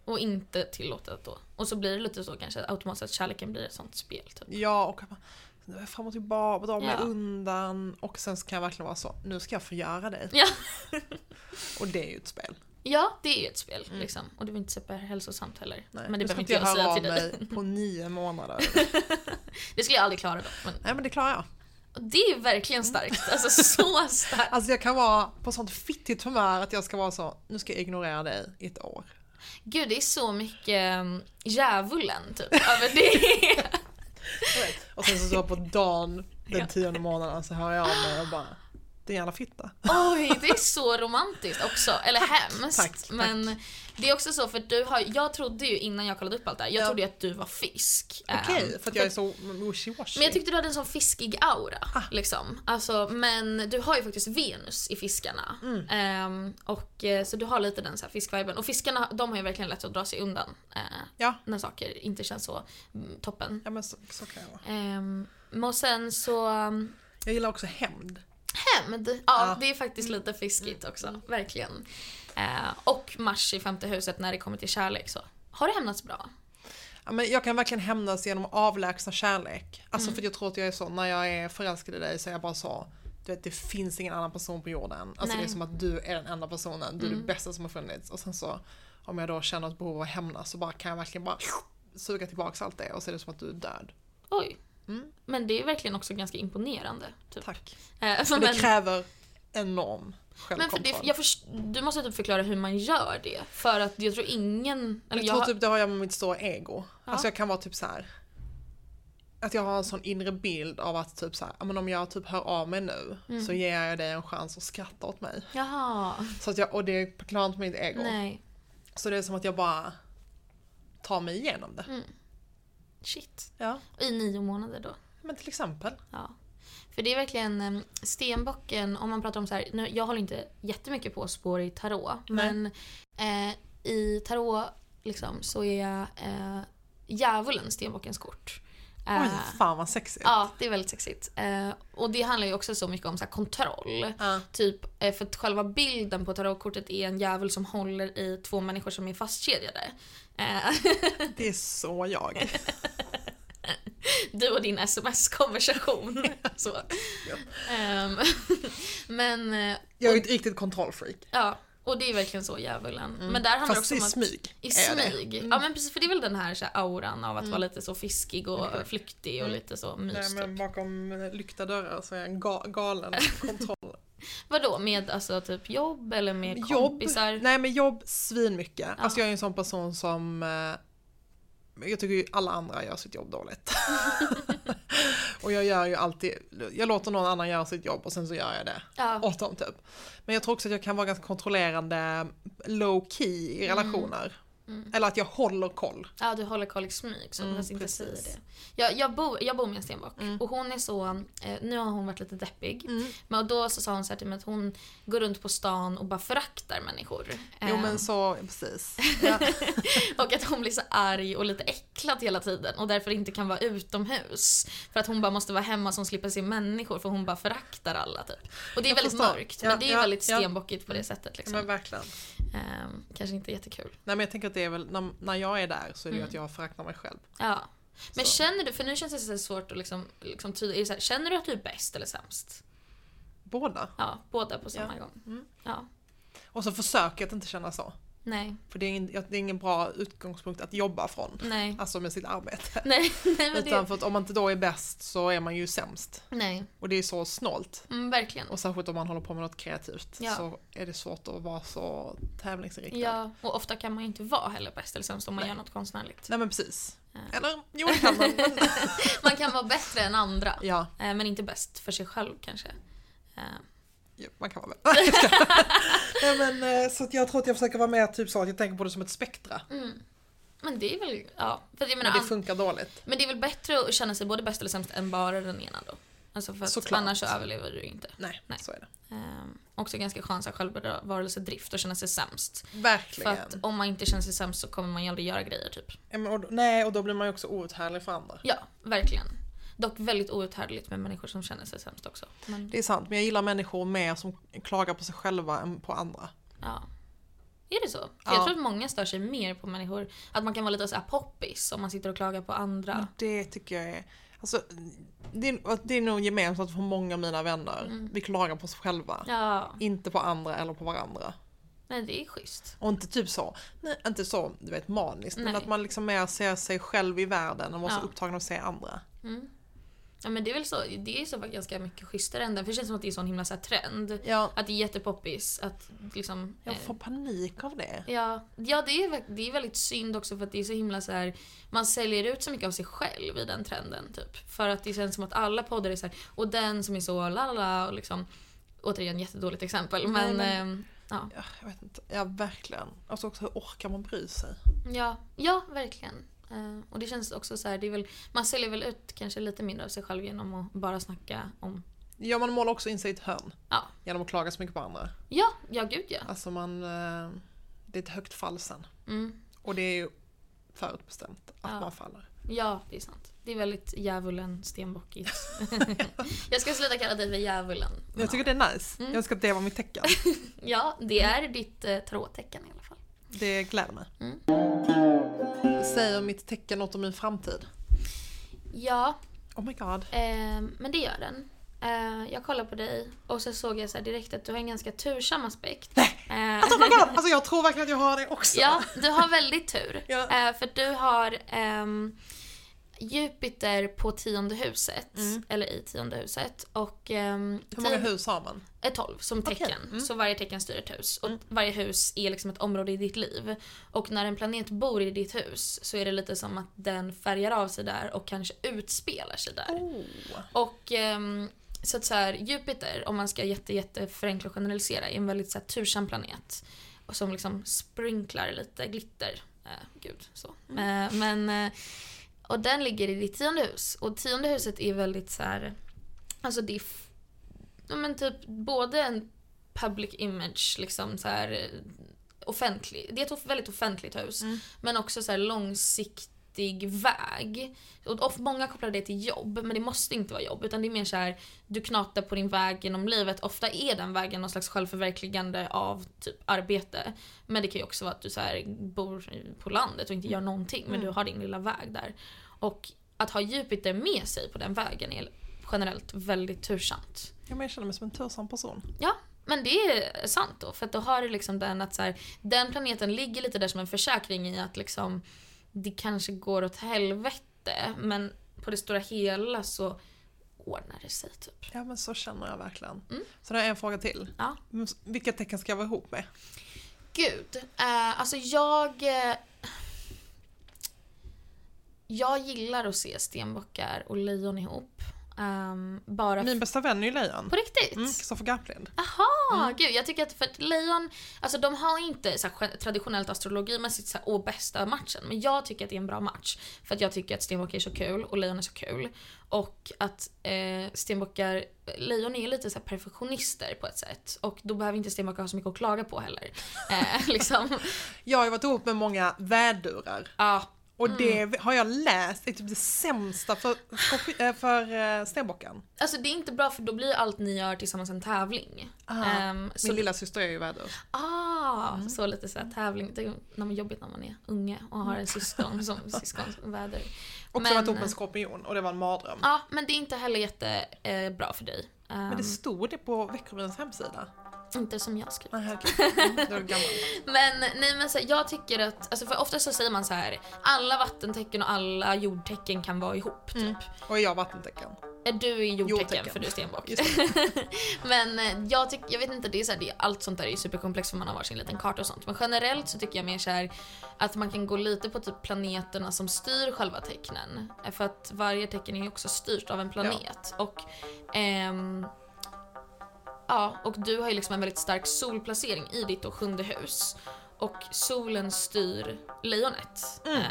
Speaker 1: Och inte tillåtet då. Och så blir det lite så kanske automatiskt att kärleken blir ett sånt spel typ.
Speaker 2: Ja, och att man nu är jag fram och tillbaka, dra mig
Speaker 1: Ja.
Speaker 2: undan och sen så kan jag verkligen vara så, nu ska jag förgöra dig.
Speaker 1: Ja.
Speaker 2: Och det är ju ett spel.
Speaker 1: Ja, det är ju ett spel liksom. Och det är inte superhälsosamt heller.
Speaker 2: Mm. Nej,
Speaker 1: Men det
Speaker 2: nu ska
Speaker 1: behöver inte jag säga till
Speaker 2: höra av
Speaker 1: dig.
Speaker 2: mig på nio månader.
Speaker 1: Det skulle jag aldrig klara då. Men
Speaker 2: Nej men det klarar jag.
Speaker 1: Och Det är ju verkligen
Speaker 2: Mm.
Speaker 1: starkt. Alltså så starkt.
Speaker 2: Alltså jag kan vara på sånt fittigt humör att jag ska vara så, nu ska jag ignorera dig i ett år.
Speaker 1: Gud, det är så mycket um, djävulen typ. Över det.
Speaker 2: Och sen så står jag på dagen
Speaker 1: Ja.
Speaker 2: den tionde månaden så hör jag av mig och bara, det är en jävla fitta.
Speaker 1: Oj, det är så romantiskt också. Eller hemskt.
Speaker 2: Tack, tack.
Speaker 1: Men det är också så för du har, jag trodde ju innan jag kollade upp allt det här, jag
Speaker 2: Ja.
Speaker 1: trodde ju att du var fisk. Um,
Speaker 2: Okej, för att jag är så wishy-washy.
Speaker 1: Men jag tyckte du hade en sån fiskig aura.
Speaker 2: Ah.
Speaker 1: Liksom. Alltså, men du har ju faktiskt Venus i fiskarna.
Speaker 2: Mm.
Speaker 1: Ehm, och, eh, så du har lite den så här fiskviben. Och fiskarna de har ju verkligen lätt att dra sig undan eh,
Speaker 2: Ja.
Speaker 1: när saker inte känns så mm, toppen.
Speaker 2: Ja men så, så kan jag vara.
Speaker 1: Ehm, och sen så um,
Speaker 2: Jag gillar också hämnd.
Speaker 1: hämnd. Ja,
Speaker 2: Ja. Mm.
Speaker 1: det är faktiskt lite fiskigt också. Verkligen. Eh, och Mars i femte huset när det kommer till kärlek. Så. Har det hämnats bra?
Speaker 2: Ja, men jag kan verkligen hämnas genom avlägsna kärlek.
Speaker 1: Mm.
Speaker 2: Alltså för jag tror att jag är så, när jag är förälskad i dig så är jag bara så, du vet det finns ingen annan person på jorden. Alltså
Speaker 1: Nej. Mm.
Speaker 2: det är som att du är den enda personen, du är det bästa som har funnits. Och sen så, om jag då känner ett behov av att hämnas så bara kan jag verkligen bara suga tillbaks allt det och så är det som att du är död.
Speaker 1: Oj.
Speaker 2: Mm.
Speaker 1: Men det är verkligen också ganska imponerande. Typ.
Speaker 2: Tack.
Speaker 1: Eh,
Speaker 2: Men det
Speaker 1: men-
Speaker 2: kräver enorm
Speaker 1: Men för
Speaker 2: självkontroll.
Speaker 1: det,
Speaker 2: jag,
Speaker 1: jag först, du måste typ förklara hur man gör det. För att jag tror ingen... Eller jag,
Speaker 2: tror
Speaker 1: har-
Speaker 2: typ det har jag med mitt stora ego.
Speaker 1: Ja.
Speaker 2: Alltså jag kan vara typ så här. Att jag har en sån inre bild av att typ så här, ja, men om jag typ hör av mig nu
Speaker 1: Mm.
Speaker 2: så ger jag dig en chans att skratta åt mig.
Speaker 1: Jaha.
Speaker 2: Så att jag, och det klarar inte mitt ego.
Speaker 1: Nej.
Speaker 2: Så det är som att jag bara tar mig igenom det.
Speaker 1: Shit.
Speaker 2: Ja.
Speaker 1: I nio månader då.
Speaker 2: Men till exempel.
Speaker 1: Ja. För det är verkligen em, stenbocken, om man pratar om så här, nu, jag håller inte jättemycket på spår i tarot,
Speaker 2: Nej.
Speaker 1: men eh, i tarot liksom, så är eh, djävulen stenbockens kort. Eh,
Speaker 2: Oj, fan vad sexigt.
Speaker 1: Ja, det är väldigt sexigt. Eh, och det handlar ju också så mycket om så här, kontroll.
Speaker 2: Ja.
Speaker 1: Typ, eh, för att själva bilden på tarotkortet är en djävul som håller i två människor som är fastkedjade. Eh,
Speaker 2: Det är så jag.
Speaker 1: du och din sms-konversation. så. Ehm, men eh,
Speaker 2: Jag är ett riktigt kontrollfreak.
Speaker 1: ja, och det är verkligen så djävulen. Men där handlar det
Speaker 2: Mm. Fast
Speaker 1: också
Speaker 2: i
Speaker 1: om att...
Speaker 2: smyg.
Speaker 1: I
Speaker 2: är jag det. Mm.
Speaker 1: smyg. Ja men precis, för det är väl den här, så här auran av att vara lite så fiskig och flyktig och lite så mys.
Speaker 2: Mm. Nej, men
Speaker 1: typ.
Speaker 2: bakom lyckta dörrar så är jag en ga- galen kontroll.
Speaker 1: Vadå, med alltså typ jobb eller med
Speaker 2: jobb,
Speaker 1: kompisar?
Speaker 2: nej men jobb svinmycket.
Speaker 1: Ja.
Speaker 2: Alltså jag är en sån person som eh, jag tycker ju alla andra gör sitt jobb dåligt. och jag gör ju alltid, jag låter någon annan göra sitt jobb och sen så gör jag det
Speaker 1: Ja.
Speaker 2: åt dem typ. Men jag tror också att jag kan vara ganska kontrollerande low key i
Speaker 1: Mm.
Speaker 2: relationer. Eller att jag håller koll.
Speaker 1: Ja, du håller koll i smyg så
Speaker 2: Mm,
Speaker 1: mm, inte
Speaker 2: precis. Mm.
Speaker 1: säger det. Jag, jag, bor, jag bor med en stenbock och hon är så, eh, nu har hon varit lite deppig. Men och då så sa hon så här till mig att hon går runt på stan och bara föraktar människor.
Speaker 2: Jo
Speaker 1: Eh,
Speaker 2: men så, precis. Ja.
Speaker 1: Och att hon blir så arg och lite äcklad hela tiden och därför inte kan vara utomhus. För att hon bara måste vara hemma så hon slipper se människor för hon bara föraktar alla typ. Och det är
Speaker 2: Jag
Speaker 1: väldigt
Speaker 2: förstår.
Speaker 1: mörkt
Speaker 2: Ja,
Speaker 1: men det är
Speaker 2: ja,
Speaker 1: väldigt
Speaker 2: ja.
Speaker 1: stenbockigt på det sättet liksom.
Speaker 2: Men verkligen.
Speaker 1: Ehm, kanske inte jättekul.
Speaker 2: Nej men jag tänker att det är väl, när, när jag är där så är det ju att jag föraktar mig själv.
Speaker 1: Ja. Mm. Men
Speaker 2: Så.
Speaker 1: känner du, för nu känns det så här svårt att liksom, liksom tyda, är det så här, känner du att du är bäst eller sämst?
Speaker 2: Båda.
Speaker 1: Ja, båda på samma gång.
Speaker 2: Mm.
Speaker 1: Ja,
Speaker 2: Och så försöker jag att inte känna så.
Speaker 1: nej,
Speaker 2: För det är, ingen, det är ingen bra utgångspunkt att jobba från.
Speaker 1: nej.
Speaker 2: Alltså med sitt arbete.
Speaker 1: Nej, nej Mm. men
Speaker 2: Utan
Speaker 1: det,
Speaker 2: för att om man inte då är bäst så är man ju sämst.
Speaker 1: nej.
Speaker 2: Och det är så snålt.
Speaker 1: Mm, verkligen.
Speaker 2: Och särskilt om man håller på med något kreativt
Speaker 1: Ja.
Speaker 2: så är det svårt att vara så tävlingsinriktad.
Speaker 1: Ja, och ofta kan man ju inte vara heller bäst eller sämst om man gör något konstnärligt.
Speaker 2: Nej men precis.
Speaker 1: Ja.
Speaker 2: Eller jo det kan man. Men,
Speaker 1: Man kan vara bättre än andra, eh,
Speaker 2: ja,
Speaker 1: men inte bäst för sig själv kanske. Eh,
Speaker 2: jo, man kan vara väl. Nej, men, eh, så att jag tror att jag försöker vara mer typ så att jag tänker på det som ett spektra.
Speaker 1: Mm. Men det är väl, ja. För jag menar,
Speaker 2: Men det
Speaker 1: an-
Speaker 2: funkar dåligt.
Speaker 1: men det är väl bättre att känna sig både bäst eller sämst än bara den ena då? Alltså för att
Speaker 2: Såklart.
Speaker 1: annars så överlever du inte.
Speaker 2: Nej,
Speaker 1: Nej.
Speaker 2: så är det.
Speaker 1: Eh, också ganska skön så här självbevarelsedrift och känna sig sämst. För
Speaker 2: Verkligen.
Speaker 1: att om man inte känner sig sämst så kommer man ju aldrig göra grejer typ.
Speaker 2: Ja, men, och, då- nej och då blir man ju också outhärdlig för andra.
Speaker 1: Ja, verkligen. Dock väldigt outhärdligt med människor som känner sig sämst också. Men,
Speaker 2: Det är sant men jag gillar människor mer som klagar på sig själva än på andra.
Speaker 1: ja. Är det så? För
Speaker 2: Ja.
Speaker 1: Jag tror att många stör sig mer på människor, att man kan vara lite så här poppis om man sitter och klagar på andra.
Speaker 2: Men det tycker jag är... Alltså, det, är och det är nog gemensamt för många av mina vänner. Vi klagar på oss själva.
Speaker 1: Mm. Ja,
Speaker 2: Inte på andra eller på varandra.
Speaker 1: nej det är schysst.
Speaker 2: Och inte typ så, nej, inte så du vet maniskt. Men
Speaker 1: Nej.
Speaker 2: att man liksom mer ser sig själv i världen och var så
Speaker 1: Ja.
Speaker 2: upptagen av att se andra.
Speaker 1: Ja men det är väl så, det är ju så fall ganska mycket schysstare än den, för det känns som att det är en sån himla så här trend.
Speaker 2: Ja.
Speaker 1: Att det är jättepoppis att liksom... eh,
Speaker 2: Jag får panik av det.
Speaker 1: Ja, ja det, är, verk- det är väldigt synd också för att det är så himla så här. man säljer ut så mycket av sig själv i den trenden typ. För att det känns som att alla poddar är så här, och den som är så la la la och liksom, återigen jättedåligt exempel men,
Speaker 2: Nej,
Speaker 1: ehm, ja.
Speaker 2: Ja, Jag vet inte, ja verkligen. Alltså också hur orkar man bry sig?
Speaker 1: ja, ja verkligen. Eh, och det känns också så här, det är väl, man säljer väl ut kanske lite mindre av sig själv genom att bara snacka om,
Speaker 2: Ja man målar också in sig i ett hörn.
Speaker 1: Ja.
Speaker 2: Genom att klaga så mycket på andra.
Speaker 1: ja, ja gud ja.
Speaker 2: Alltså man, eh, det är ett högt fall sen.
Speaker 1: Mm.
Speaker 2: Och det är ju förutbestämt att
Speaker 1: Ja.
Speaker 2: man faller.
Speaker 1: Ja, det är sant. Det är väldigt djävulen stenbockigt. jag ska sluta kalla dig för djävulen. men
Speaker 2: Jag
Speaker 1: ja.
Speaker 2: tycker det är nice.
Speaker 1: Mm.
Speaker 2: Jag önskar att det var mitt tecken.
Speaker 1: Ja, det är ditt eh, tråtecken i alla fall.
Speaker 2: Det gläder mig.
Speaker 1: Mm.
Speaker 2: Säger mitt tecken något om min framtid?
Speaker 1: Ja,
Speaker 2: Oh my god.
Speaker 1: eh, men det gör den. Eh, jag kollade på dig och så såg jag så här direkt att du har en ganska tursam aspekt. Eh,
Speaker 2: Alltså, oh my god! alltså jag tror verkligen att jag har det också.
Speaker 1: ja, du har väldigt tur.
Speaker 2: Ja.
Speaker 1: Eh, för du har ehm, Jupiter på tionde huset, eller i tionde huset. Och, ehm,
Speaker 2: Hur många
Speaker 1: ti-
Speaker 2: hus har man?
Speaker 1: är 12 som
Speaker 2: Okej,
Speaker 1: tecken.
Speaker 2: mm.
Speaker 1: Så varje tecken styr ett hus. Och varje hus är liksom ett område i ditt liv. Och när en planet bor i ditt hus så är det lite som att den färgar av sig där och kanske utspelar sig där.
Speaker 2: Oh.
Speaker 1: Och ehm, så att så här, Jupiter, om man ska jätte, jätte förenkla och generalisera, är en väldigt så här, tursam planet. Och som liksom sprinklar lite glitter. Eh, gud, så. Eh, men, eh, och den ligger i ditt tionde hus. Och tionde huset är väldigt så här, alltså det är f- ja, men typ både en public image, liksom så här eh, offentlig, det är ett off- väldigt offentligt hus, men också så här långsiktig väg. Och of, många kopplar det till jobb, men det måste inte vara jobb utan det är mer så här du knatar på din väg genom livet. Ofta är den vägen någon slags självförverkligande av typ arbete. Men det kan ju också vara att du så här bor på landet och inte gör någonting men du har din lilla väg där. Och att ha Jupiter med sig på den vägen är generellt väldigt tursamt.
Speaker 2: Ja, men jag känner mig som en tursam person.
Speaker 1: Ja, men det är sant då. För att då har du liksom den att så här, den planeten ligger lite där som en försäkring i att liksom det kanske går åt helvete men på det stora hela så ordnar det sig typ.
Speaker 2: Ja men så känner jag verkligen. Så nu har jag en fråga till.
Speaker 1: Mm. Ja.
Speaker 2: Men s- Vilka tecken ska jag vara ihop med?
Speaker 1: Gud, eh, alltså jag... Eh, jag gillar att se stenbockar och lejon ihop. Ehm, bara
Speaker 2: Min bästa vän är ju lejon.
Speaker 1: på riktigt.
Speaker 2: Mm, Kristoffer Garplind.
Speaker 1: Aha, gud jag tycker att för att lejon, alltså de har inte så här, gen- traditionellt astrologimässigt så här, åh bästa matchen men jag tycker att det är en bra match. För att jag tycker att stenbockar är så kul och lejon är så kul. Och att eh, stenbockar, lejon är ju lite så här, perfektionister på ett sätt och då behöver inte stenbockar ha så mycket att klaga på heller. Eh, liksom.
Speaker 2: Jag har ju varit ihop med många vädurar.
Speaker 1: Ja,
Speaker 2: Och
Speaker 1: Mm.
Speaker 2: det har jag läst är typ det sämsta för, skorpi- eh, för eh, stenbocken.
Speaker 1: alltså det är inte bra för då blir ju allt ni gör tillsammans en tävling. Ehm, så
Speaker 2: Eh, Min lilla syster är ju vädur.
Speaker 1: Ah,
Speaker 2: Mm.
Speaker 1: så lite så här tävling. Det är när man jobbigt när man är unge och har en syskon som syskonväder.
Speaker 2: Mm. Också varit ihop med en skorpion och det var en mardröm.
Speaker 1: Ja, men det är inte heller jättebra eh, bra för dig. Ehm,
Speaker 2: Men det stod det på Veckobyns hemsida.
Speaker 1: Inte som jag skriver.
Speaker 2: Nej, okej. Mm, då är du gammal.
Speaker 1: Men nej men så här, jag tycker att, alltså för ofta så säger man så här alla vattentecken och alla jordtecken kan vara ihop typ.
Speaker 2: Och jag vattentecken.
Speaker 1: Eh, Du är jordtecken,
Speaker 2: Jordtecken.
Speaker 1: för du är stenbock.
Speaker 2: Just
Speaker 1: men eh, jag, tyck, jag vet inte, det är så här, det är, allt sånt där är ju superkomplext för man har varsin liten karta och sånt. Men generellt så tycker jag mer så här att man kan gå lite på typ planeterna som styr själva tecknen. Eh, För att varje tecken är ju också styrt av en planet. Och ehm, Ja, och du har ju liksom en väldigt stark solplacering i ditt då sjunde hus. Och solen styr lejonet.
Speaker 2: Mm.
Speaker 1: Eh,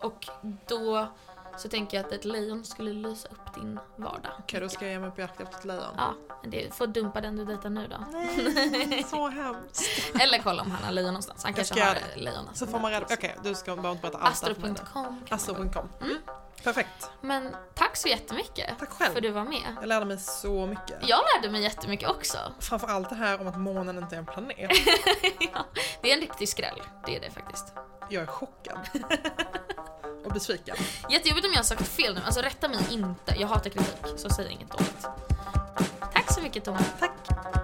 Speaker 1: och då så tänker jag att ett lejon skulle lysa upp din vardag.
Speaker 2: Okej, då ska jag ge mig på jakt efter ett lejon.
Speaker 1: Ja, men det får dumpa den du dejtar nu då.
Speaker 2: Nej, så hemskt.
Speaker 1: Eller kolla om han har lejon någonstans. Han kanske
Speaker 2: ska
Speaker 1: har
Speaker 2: göra det.
Speaker 1: lejon.
Speaker 2: Så får man reda Okej, du ska behöver inte berätta allt.
Speaker 1: Astro.com. kan man gå in.
Speaker 2: Astro.com. Mm. Perfekt.
Speaker 1: Men tack så jättemycket
Speaker 2: Tack själv.
Speaker 1: för du var med.
Speaker 2: Jag lärde mig så mycket.
Speaker 1: Jag lärde mig jättemycket också.
Speaker 2: Framförallt det här om att månen inte är en planet.
Speaker 1: ja, det är en riktig skräll. Det är det faktiskt.
Speaker 2: Jag är chockad. Och besviken.
Speaker 1: Jättejobbigt om jag har sagt fel nu. Alltså rätta mig inte. Jag hatar kritik, så säg inget dåligt. Tack så mycket Tove. Tack.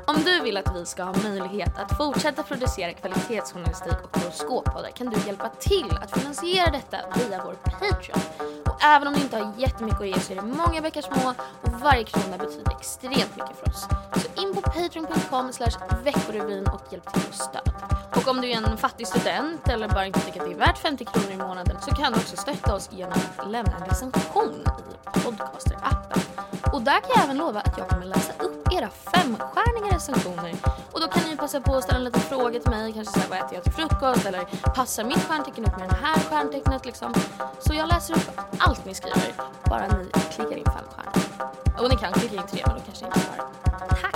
Speaker 1: Om du vill att vi ska ha möjlighet att fortsätta producera kvalitetsjournalistik och horoskoppoddar kan du hjälpa till att finansiera detta via vår Patreon. Och även om du inte har jättemycket att ge så är det många bäckar små och varje krona betyder extremt mycket för oss. Så in på patreon.com slash veckorevyn och hjälp till och stöd. Och om du är en fattig student eller bara inte tycker att det är värt 50 kronor i månaden så kan du också stötta oss genom att lämna en recension i Podcaster-appen. Och där kan jag även lova att jag kommer läsa upp era femstjärniga recensioner. Och då kan ni passa på att ställa en liten fråga till mig, kanske såhär vad äter jag till frukost eller passar mitt stjärntecken upp med det här stjärntecknet liksom. Så jag läser upp allt ni skriver, bara ni klickar in fem stjärnor. Och ni kan klicka in tre men då kanske ni inte svarar. Tack!